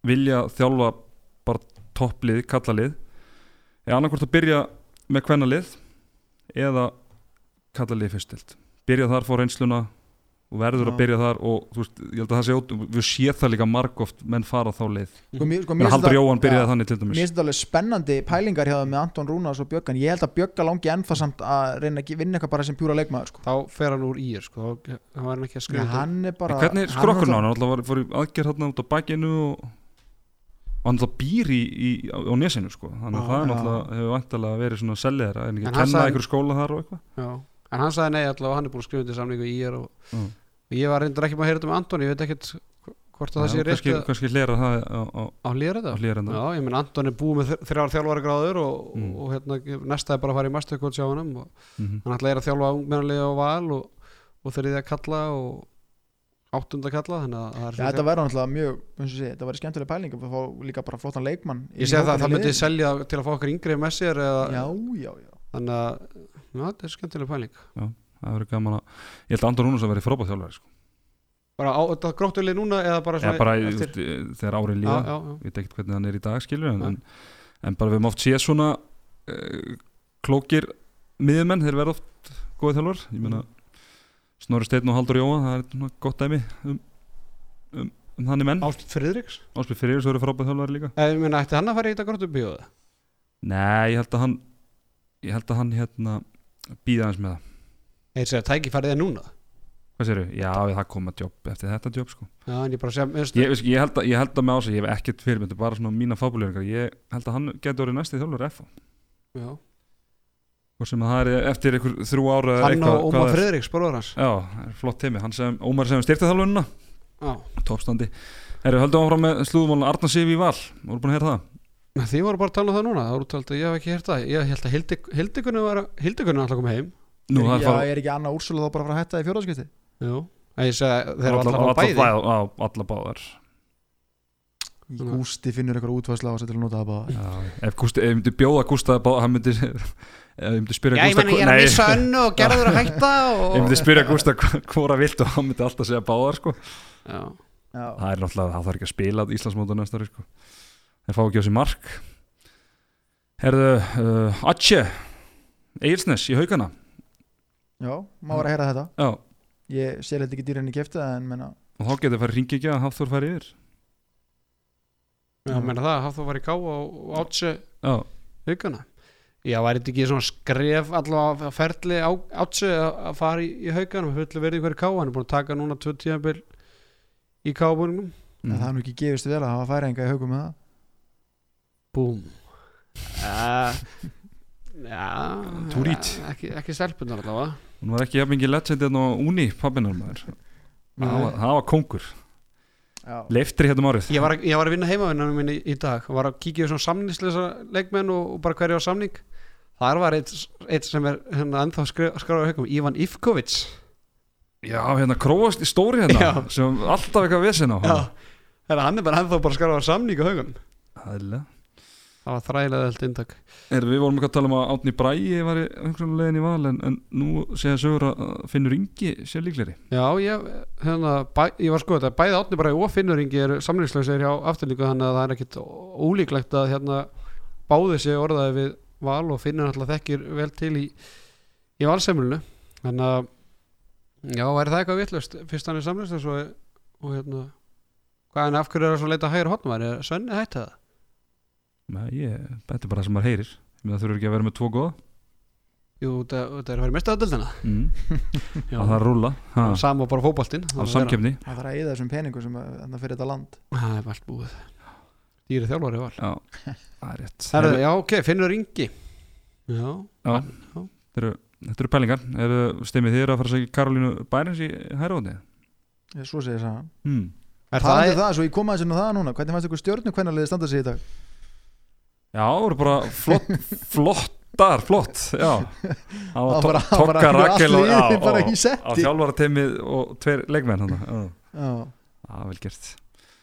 vilja þjálfa bara topplið, kallalið er annarkvort að byrja með kvennalið eða kallalið fyrstilt byrja þar fór reynsluna og verður
Já.
að byrja þar og þú veist, ég held að það sé ótt við sé það líka margóft menn fara þá leið
sko,
Mhm.
mér, sko,
menn
mér
Haldur Jóhann byrjaði
já,
þannig til dæmis
Mér finnst þetta alveg spennandi pælingar hjá þeim með Anton Rúnas og Bjöggan Ég held að Bjögga langi ennþá samt að reyna að ge- vinna eitthvað bara sem pjúra leikmaður, sko
þá fer hann úr í er sko, þá hann var hann ekki að
Já,
skrifa
hann er bara
En hvernig er
hann
skrokkurinn á
náttúrulega-
hann? Hann var, fór í aðgerð hérna út á bakinu og og hann alltaf býr í, í, á, á nesinu sko. þannig að
Ah,
það
Já.
er náttúrulega hefur vantilega verið svona sellið þeirra en ekki
En
að
hann
kenna
sagði-
einhverju skóla þar og eitthvað
Já, en hann sagði nei allavega hann er búin að skrifa undir samlingu í IR og,
Já.
og ég var reyndar ekki maður að heyra þetta með Antoni ég veit ekkert hvort að það sé
Já,
rétt
kannski,
að-
kannski hlera það á, á,
á hlýra
á
þetta
hlérenda
Já, ég menn Antoni er búið með þr- þrjár þjálfara gráður og,
Mm.
og hérna, næsta er bara að fara í mastercoach hjá hann og
mm
hann ætla er að þjálfa ungmennalið og val og, og þriðja kalla og áttunda kalla þannig að það er
Já, þetta væri náttúrulega mjög, eins og sé, þetta væri skemmtileg pæling að fá líka bara flottan leikmann inn í
ég segi það,
hópinn
það
í
myndi
liðinu.
selja til að fá okkur yngri með sér eða,
Já, já, já
þannig að, já, þetta er skemmtileg pæling
það verður gaman að ég held að Andor Rúnarsson verið frábæð þjálfari sko.
bara á, þetta gróttuleg núna eða bara
eða bara í- þú
eftir-
veist, eh, þegar árið
já,
líða
já, já.
ég veit ekkert hvernig hann er í dag skilur en,
Nei.
en, en bara við höfum oft séð svona uh, klókir miðjumenn, þeir verða oft góði þjálfur ég meina Snorri Steinn og Haldur Jóa það er svona gott dæmi um, um, um þannig menn
Ást Friðriks
Ásbjörn Fyrir svo eru frábæð þjálfur líka
Eða, Eh, ég meina, ætti hann að fara í þetta gróttubíóða?
Nei, ég held að hann ég held að hann hérna býða aðeins með það
Eða segja, tækifærið er núna
Hvað séru? Já, það kom að jobb eftir þetta jobb sko
Já, en ég bara segja, minnst
Ég, veist, ég, held, að, ég held að með ás að ég hef ekkert fyrir þetta er bara svona mína fábuleringar ég held að hann getur orðið næsti þjálfur F
Já.
hvort sem að það er eftir ykkur þrjú ára eða
Hann
eitthvað-
og
hvað
Ómar
það er.
Friðriks, bróður hans
Já, það er flott teimi, hann sem, Ómar sem styrta þalununa,
Já.
toppstandi Herru, höldum áfram með slúðumálun Arnar Sif í val, voru búin að heyra það
um Þið voru bara að tala um það núna Það voru talað, ég hef ekki hert það Ég held að Hildikunni var Hildikunni alltaf kom heim
Nú,
er,
það
ekki,
fara-
já, er ekki Anna Úrsula þá bara að fara að hætta í fjórðarskipti
Jú, en ég segi þeir
Allar-
eru alltaf
allar
bæði bæ...
bæ- á- Allar báðar
Í
Nei.
Gústi finnur eitthvað útfærsla á þessu til að nota það bara
Já, Ef Gústi, ef ég myndi bjóða Gústa að báða, hann myndi ef ég myndi spyrja
Já, ég
Gústa
meni, ég er að missa önnu og gerður að hætta og...
Ég myndi spyrja Gústa hv- hvora vilt og hann myndi alltaf segja báðar sko.
Já,
Já,
Það er náttúrulega, það þarf ekki að spila Íslandsmóta næsta ári, sko. En fá ekki á sig mark Herðu, uh, Atje Egilsnes í haugana
já má vera að heyra þetta
Já, og
Ég sé þetta ekki dýrinn í kefta en menna
þá getur það farið ringi ekki að Hafþór fari yfir
já, meina það, hafði það var í ká og átse
Já,
haugana Já, væri þetta ekki svona skref allavega að ferli átse að fara í, í haugana með fullu verið í hverju ká hann er búin að taka núna tvö tíðanbíl í kábúningum
Mm.
en það er nú ekki gefist vel að hafa færinga í haugum með það
Búm Já, já
Too rich.
Ekki, ekki stelpunar allavega
Hún var ekki jafn mikið legend en á Uni, pappinar maður Það var- það var kóngur
Já,
Leiftri hérna um árið
Ég var, að- ég var að vinna heimavinnanum minni í dag og var að kíkja í svona samningsleysa leikmenn og, og bara hverja á samning þar var eitt, eitt sem er hérna ennþá skráður haukum, Ivan Ivkovic
Já, hérna Króast í stóri hérna
Já.
sem alltaf eitthvað vesen á
Já, hérna, hann er bara ennþá bara skráður samning á haukum
Æðilega
það var þrælega held inntak
Er, við vorum eitthvað að tala um að Átni Bræi var einhvern leginn í val en, en nú segja sögur að að Finnur Ingi sé líkleri
Já, ég, hérna, bæ, ég var sko þetta bæði átni bara og finnuringi eru samningsleysir hjá afturlíku þannig að það er ekkit ó- ólíklegt að hérna báði sé orðaði við val og finnur alltaf þekkir vel til í, í valsemlunu þannig að já, væri það eitthvað vitlaust fyrst hann er samningsleys og, og hérna hvað en af hverju er það svo að leita hægur hotnum er Svenni hætti það?
Nei, ég, þetta er bara það sem maður heyrir Menn það þurfur ekki að vera með tvo góða
Jú, þetta þetta er að fara í mestaðöldina
mm. að það rúla ha,
Sama og bara fótboltinn
á samkefni
það þarf að eyða þessum peningum sem að- þarna fyrir þetta land
Það er allt búið Dýri þjálfari var
Já, það er rétt
Herðu, já, ok, finnur ringi Já,
Já. Þetta eru- Þetta eru pælingar Eru stemið þér að fara að segja Karolínu Bærens í hæraóti?
Ég- Svo segir það
Mm.
Er
Það
það, e-
er um það, svo ég kom aðeins inn á það núna Hvernig fannst ykkur stjórnu hvernig liðið standa sig í dag?
Já, það voru bara flott flottar, flott Já, það
Það
var
bara-
to-
það bara-
Tokka Rakel og-
allt liðið
já,
bara
og-
í
á
setti.
þjálfarateimið og tveir leikmenn hann Já,
Já,
Já, vel gert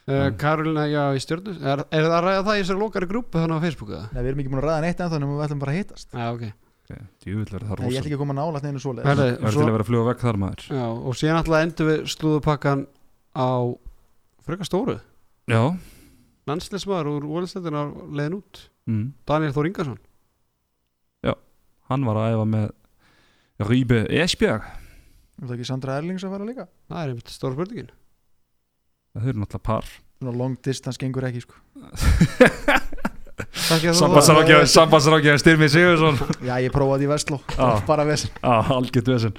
uh, Karolina, já, í stjórnu er, er það að ræða það í þessari lokari grúpu þannig á Facebooku? eða?
Nei, við erum ekki búin að ræða neitt ennþá nema við ætlum bara að hittast
Já, ok
Ok, Djúvill verður það
Nei, Ég ætla
rosa
ekki að koma nálægt neinu svoleið
Herðu,
Það er til
svo,
að vera að fluga vekk þar maður
já, Og síðan alltaf endur við slúðupakkan á frekar stóru
Já,
landslismar úr Ólisleitin á leiðin út
mm.
Daniel Þór Ingarsson
hann var að æfa með Rýbe Esbjerg
Er það ekki Sandra Erlings að fara líka?
Það er einmitt stóra spurningin
Það eru náttúrulega par
Svona long distance gengur ekki sko
Takk ég að þú
Sambandsrákjaði Sambandsrákjaði Styrmi Sigursson
Já, ég prófaði í Vestló
Já.
Bara vesen
Já, algjört vesen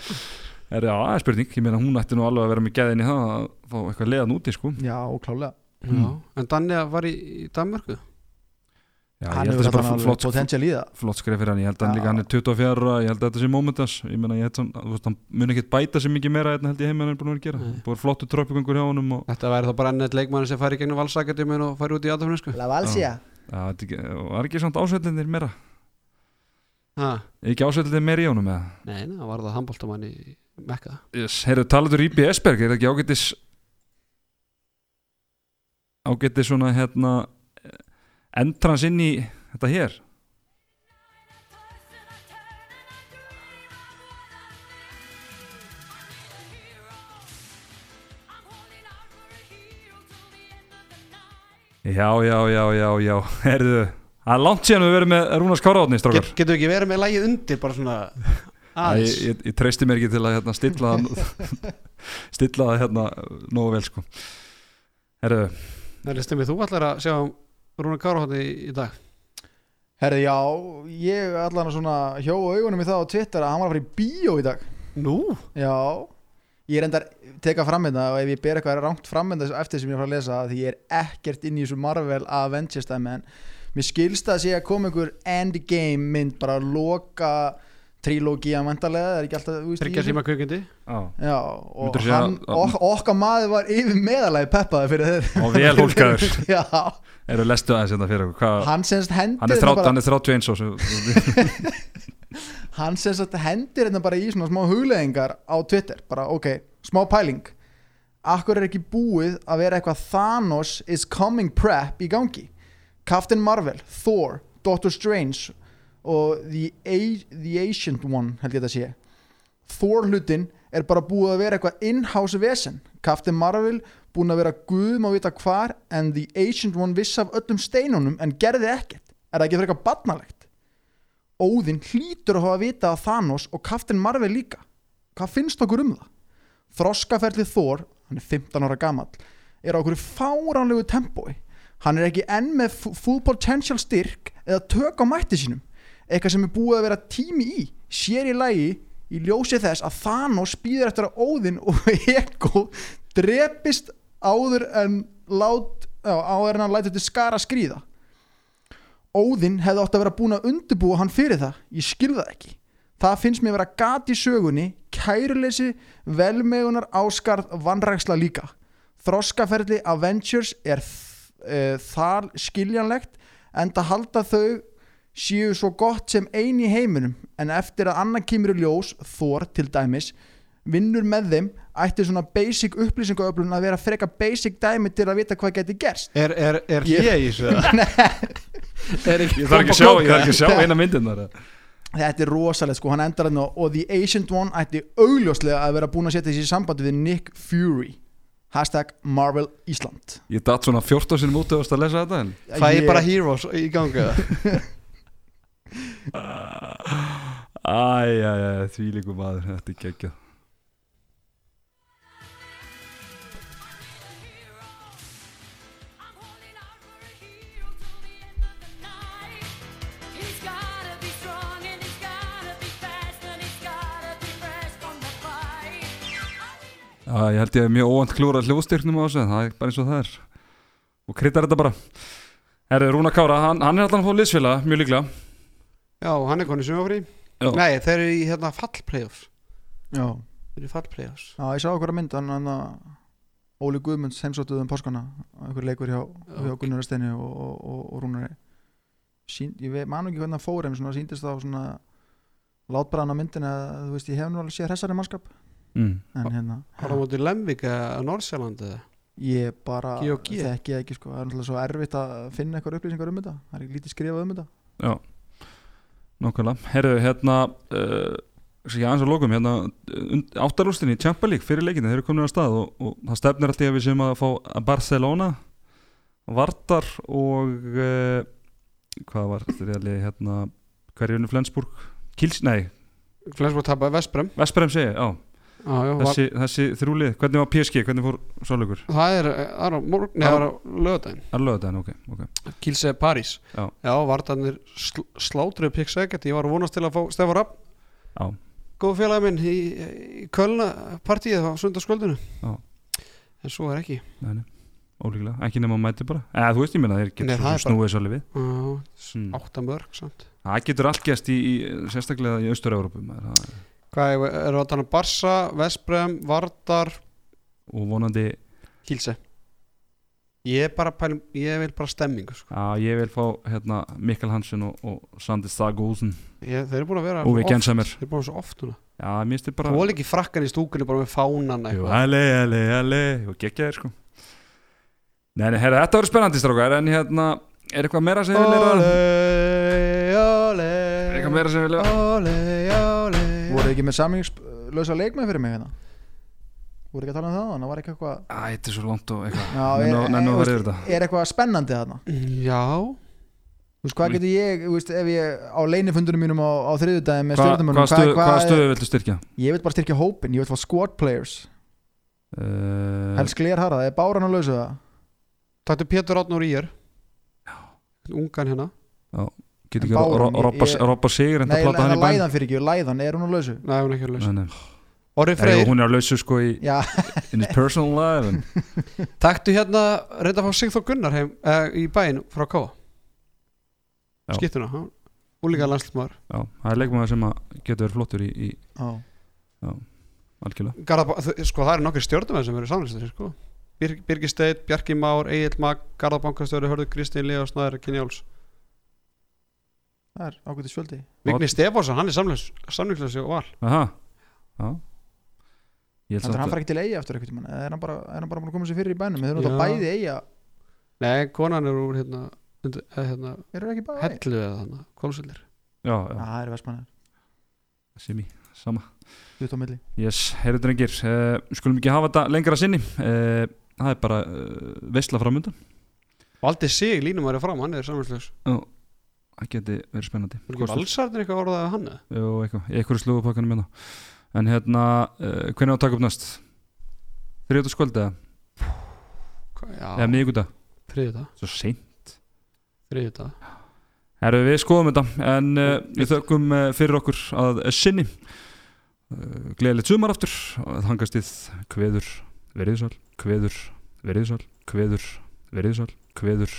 Er já, það er spurning, ég meina hún ætti nú alveg að vera með gæðin í það að fá eitthvað leiðan úti sko
Já, klálega
Mm.
Já, En Daniel var í, í Danmörku
Já, ég
Hann
held að það er
hefur þarna
bara
alveg
flott,
potential í það
flott skrif fyrir hann, ég held að hann
Já.
líka hann er 24 ára, ég held að þetta sé momentas, ég meina ég held að þú veist, hann mun ekkert bæta sér mikið meira hérna held ég heim en hann er búin að vera að gera,
Nei.
búin flottu tröpugöngur hjá honum og
Þetta væri þá bara ennett leikmann sem færi í gegnum valsakadjum og færi út í aðdæfnisku
La
Valsia. Já, þetta er ekki- og er ekki samt ásveitlindir meira,
Nei,
Er ekki ásveitlindir meira í honum eða?
nei, það var það handbóltamann í Mekka
Yes, heyrðu, talaður Íbi Esberg, er það ekki ágætis ágætis svona hérna endrans inn í þetta hér Já, já, já, já, já Herðu, það er langt síðan við verðum með Rúnars Káraðni, strókar
Get, Getum við ekki verið með lægið undir bara svona
Æ,
aðeins
ég, ég, ég treysti mér ekki til að hérna, stilla það stilla það hérna nógu vel sko Herru,
Það er stemmið, þú ætlar að sjá um Rúnar Kárahótti í, í dag
Herði, já, ég allan að svona hjó augunum í það á Twitter að hann var að fara í bíó í dag
Nú?
Já, ég reyndar teka fram hérna og ef ég ber eitthvað rangt fram hérna eftir sem ég er að fara að lesa því ég er ekkert inn í þessu Marvel Avengers dæmi en mér skilst að sé að koma einhver endgame mynd bara að loka trilógía vantarlega, það er ekki alltaf þú veist, í
Tryggja
þessu?
síma kvikindi
á,
Já, og
Myndirðu segja
hann,
að-
ok, okkar maður var yfir meðalagi peppaði fyrir þeir
og vel hólkaður
Já,
Eru lestu aðeins hérna fyrir okkur Hva,
hann semst hendir
hann, er
þetta
þrát,
bara-
hann er 31 svo sem-
hann sem sagt hendir hérna bara í svona smá hugleðingar á Twitter bara ok, smá pæling akkur er ekki búið að vera eitthvað Thanos is coming prep í gangi Captain Marvel, Thor, Doctor Strange og The, A The Ancient One held ég þetta sé Thor hlutin er bara búið að vera eitthvað in-house vesen Captain Marvel búin að vera guð má vita hvar en The Ancient One viss af öllum steinunum en gerði ekkert er það ekki fyrir eitthvað barnalegt Óðinn hlýtur að hafa vita að Thanos og Captain Marvel líka hvað finnst okkur um það? Þroskaferli Thor, hann er 15 ára gamall er á okkur fáránlegu tempói hann er ekki enn með fu- full potential styrk eða tök á mætti sínum eitthvað sem er búið að vera tími í sér í lagi í ljósi þess að Thanos býður eftir að Óðinn og Eko drepist áður en lát, já, áður en hann lætur til skara skríða Óðinn hefði átt að vera búin að undirbúa hann fyrir það ég skilða það ekki það finnst mér vera gat í sögunni kæruleysi, velmegunar áskarð, vannræksla líka þroskaferli Avengers er uh, þar skiljanlegt en það halda þau séu svo gott sem ein í heiminum en eftir að annar kemur í ljós Thor til dæmis vinnur með þeim ætti svona basic upplýsingaöflun að vera freka basic dæmi til að vita hvað geti gerst
Er, er, er
Ég-
hlýja í þessu það? er ekki
Ég þarf ekki að sjá, ég þarf ekki að sjá eina myndin þar
þetta er rosalegt sko, hann endar hann og The Ancient One ætti augljóslega að vera búin að setja þessi í sambandi við Nick Fury hashtag Marvel Ísland
Ég datt svona 14 sinum út eða að lesa þetta en
Það er bara Heroes í gangi eða?
Æjæjæ, því líku maður, þetta er geggjað
I'm holding out for a hero till the end of the night. He's gotta be strong and he's gotta be fast and he's gotta be fresh from the fight.
Já, ég held ég hef mjög óvant klúra hljóðstyrknum á þessu, en það er bara eins og það er og kryttar þetta bara Herri, Rúna Kára, hann, hann er alltaf að fá liðsfélaga, mjög líklega
Já, hann er konið sumafrí
Já.
Nei, þeir eru í hérna fallplayoffs
já,
Þeir eru í fallplayoffs
já ég sá okkur að mynd hann, hann að Óli Guðmunds heimsóttuð um páskana einhver leikur hjá, hjá Gunnar Steini og, og, og, og Rúnari Sín, ég veit, man ekki hvernig hann fór en svona síndist þá svona látbræðan á myndin að þú veist ég hef nú alveg séð hressari mannskap
mm.
en hérna
Var það mútið Lemvik eða Norseland eða?
ég bara
G og G.
þekki það ekki sko það er náttúrulega svo erfitt að finna eitthvað upplýsingar um þetta það er ekki lítið skrifað um þetta
Já, nákvæmlega Herru, hérna uh, svo ég aðeins að lokum, hérna und- áttarústin í Champa League fyrir leikinu, þeir eru komin að stað og, og það stefnir alltaf að við séum að fá Barcelona Vardar og uh, hvað var þetta reyðli, hérna hverjunni Flensburg, Kils, nei
Flensburg tapaði Vesprem
Vesperheim segja, já,
Já, já, var,
þessi, þessi þrjúlið hvernig var PSG, hvernig fór sáleikur
Það er, eh, það er á morgun Nei, það er á lögadaginn
alveg þetta, ok, ok
Kílse París
Já.
já vartanir sl slátruðu pikk segget Ég var að vonast til að fá Stefán Rapp
Já.
Góð félagi minn í, í Kölna partíið á sundarskvöldinu
Já.
En svo er ekki
Nei, nei, ólíklega, ekki nema að mæti bara eða þú veist, ég meina, þeir
Nei,
getur
það
svo
er
sem snúið svolítið við
Já,
Mm.
Áttamörk samt
Það getur allt gæst í, í sérstaklega í austur-Európu maður, það-
Hvað er, er það þannig Barsa, Vesprem, Vardar,
og vonandi
Kílse? Ég er bara pælum, ég vil bara stemmingu sko.
að ég vil fá hérna, Mikkel Hansen og, og Sandi Stagósen
ég, Þeir eru búin að vera
Úvi
oft-
Gensamer.
Þeir eru búin að vera svo oft núna
Já, mér styrir bara
Þú var ekki frakkan í stúkunni bara með fánan
Jú, Alle, alle, alle og geggja þér sko Nei, nei, herra, þetta voru spennandi strákar en hérna, er eitthvað meira sem við
Óle,
leira
óle
eitthvað meira sem við leira
Óle, óle
voru ekki með samlingslösa leikmenn fyrir mig hérna voru ekki að tala um það það var ekki eitthvað
Æ, þetta er svo langt og
Já,
eitthvað
er-
Nenna- Nenna
er-
að vera
veist,
yfir þetta
er eitthvað spennandi þarna
Já
Þú
Hm.
veist, hvað getur ég, þú veist, ef ég á leinifundunum mínum á, á þriðudagum með
Hva,
stjórnumönum
Hvaða stöðu hvað stöðu viltu styrkja?
ég vil bara styrkja hópin, ég vil fá squad players
Uh,
Helst Gleir Harða, er Báran að lausa það?
Taktu Pétur Átnur í er Ungan hérna
Getur
en
ekki ro-
Bárum,
ro- robba-
ég-
robba sigur en
Nei,
það plata hann
hann
í bæn
læðan fyrir ekki, læðan, er hún að lausa?
Nei, hún er ekki að laus
Nei, nei.
Orri
Jú,
Freyr,
Hún er að lausa sko í
Já,
in his personal life en
taktu hérna reynda að fá Sigþór Gunnar heim, eh, í bæinn frá K
Já.
Skittuna, hann Úlíka landslutmaður
Já, það er leikmaður sem að getur verið flottur í, í
já,
algjörlega
Garðabá, þau- sko það eru nokkri stjórnumenn sem eru samlistir sko. Bir, Birgir Steit, Bjarki Már, Egil Mag Garðabankastjóri, Hörður Kristín, Leo Snæður, Kynjáls
það er ákveðið fjöldi
Vigni Stefánsson, hann er samlingslösi og val
Aha. Já. Ég held
Þannig að hann
samt
fara ekki til eiga eftir eitthvað tíma er hann bara, er hann bara búin að koma sér fyrir í bænum þeir eru náttúrulega
Já.
bæði eiga,
Nei, konan er úr hérna, undir- eða, hérna
eru þeir ekki bæði eiga?
hellu eða þannig, kólsöldir
Já,
Já,
já,
það er vestmannar,
sem í sama
þú tóð milli
Yes, heyrðu drengir, uh, skulum ekki hafa þetta lengra sinni uh, Það er bara uh, veistla framundan
Valdi sig línum að vera fram, hann er samlingslös
Það geti verið spennandi Kostur.
Valsarðin eitthvað orðaði hann eða?
Jú, eitthvað, eitthvað slúðupakkanum minna En hérna, uh, hvernig á að taka upp næst? Þriðjóta skvöldi eða?
Hvað-
Eða
Já,
miðgudag?
þriðið það,
Svo seint
þriðið það
Herru, við skoðum þetta En uh, við þökkum uh, fyrir okkur að sinni uh, Gleðilegt sumar aftur Það hangast íð kveður veriðsal Kveður veriðsal Kveður veriðsal Kveður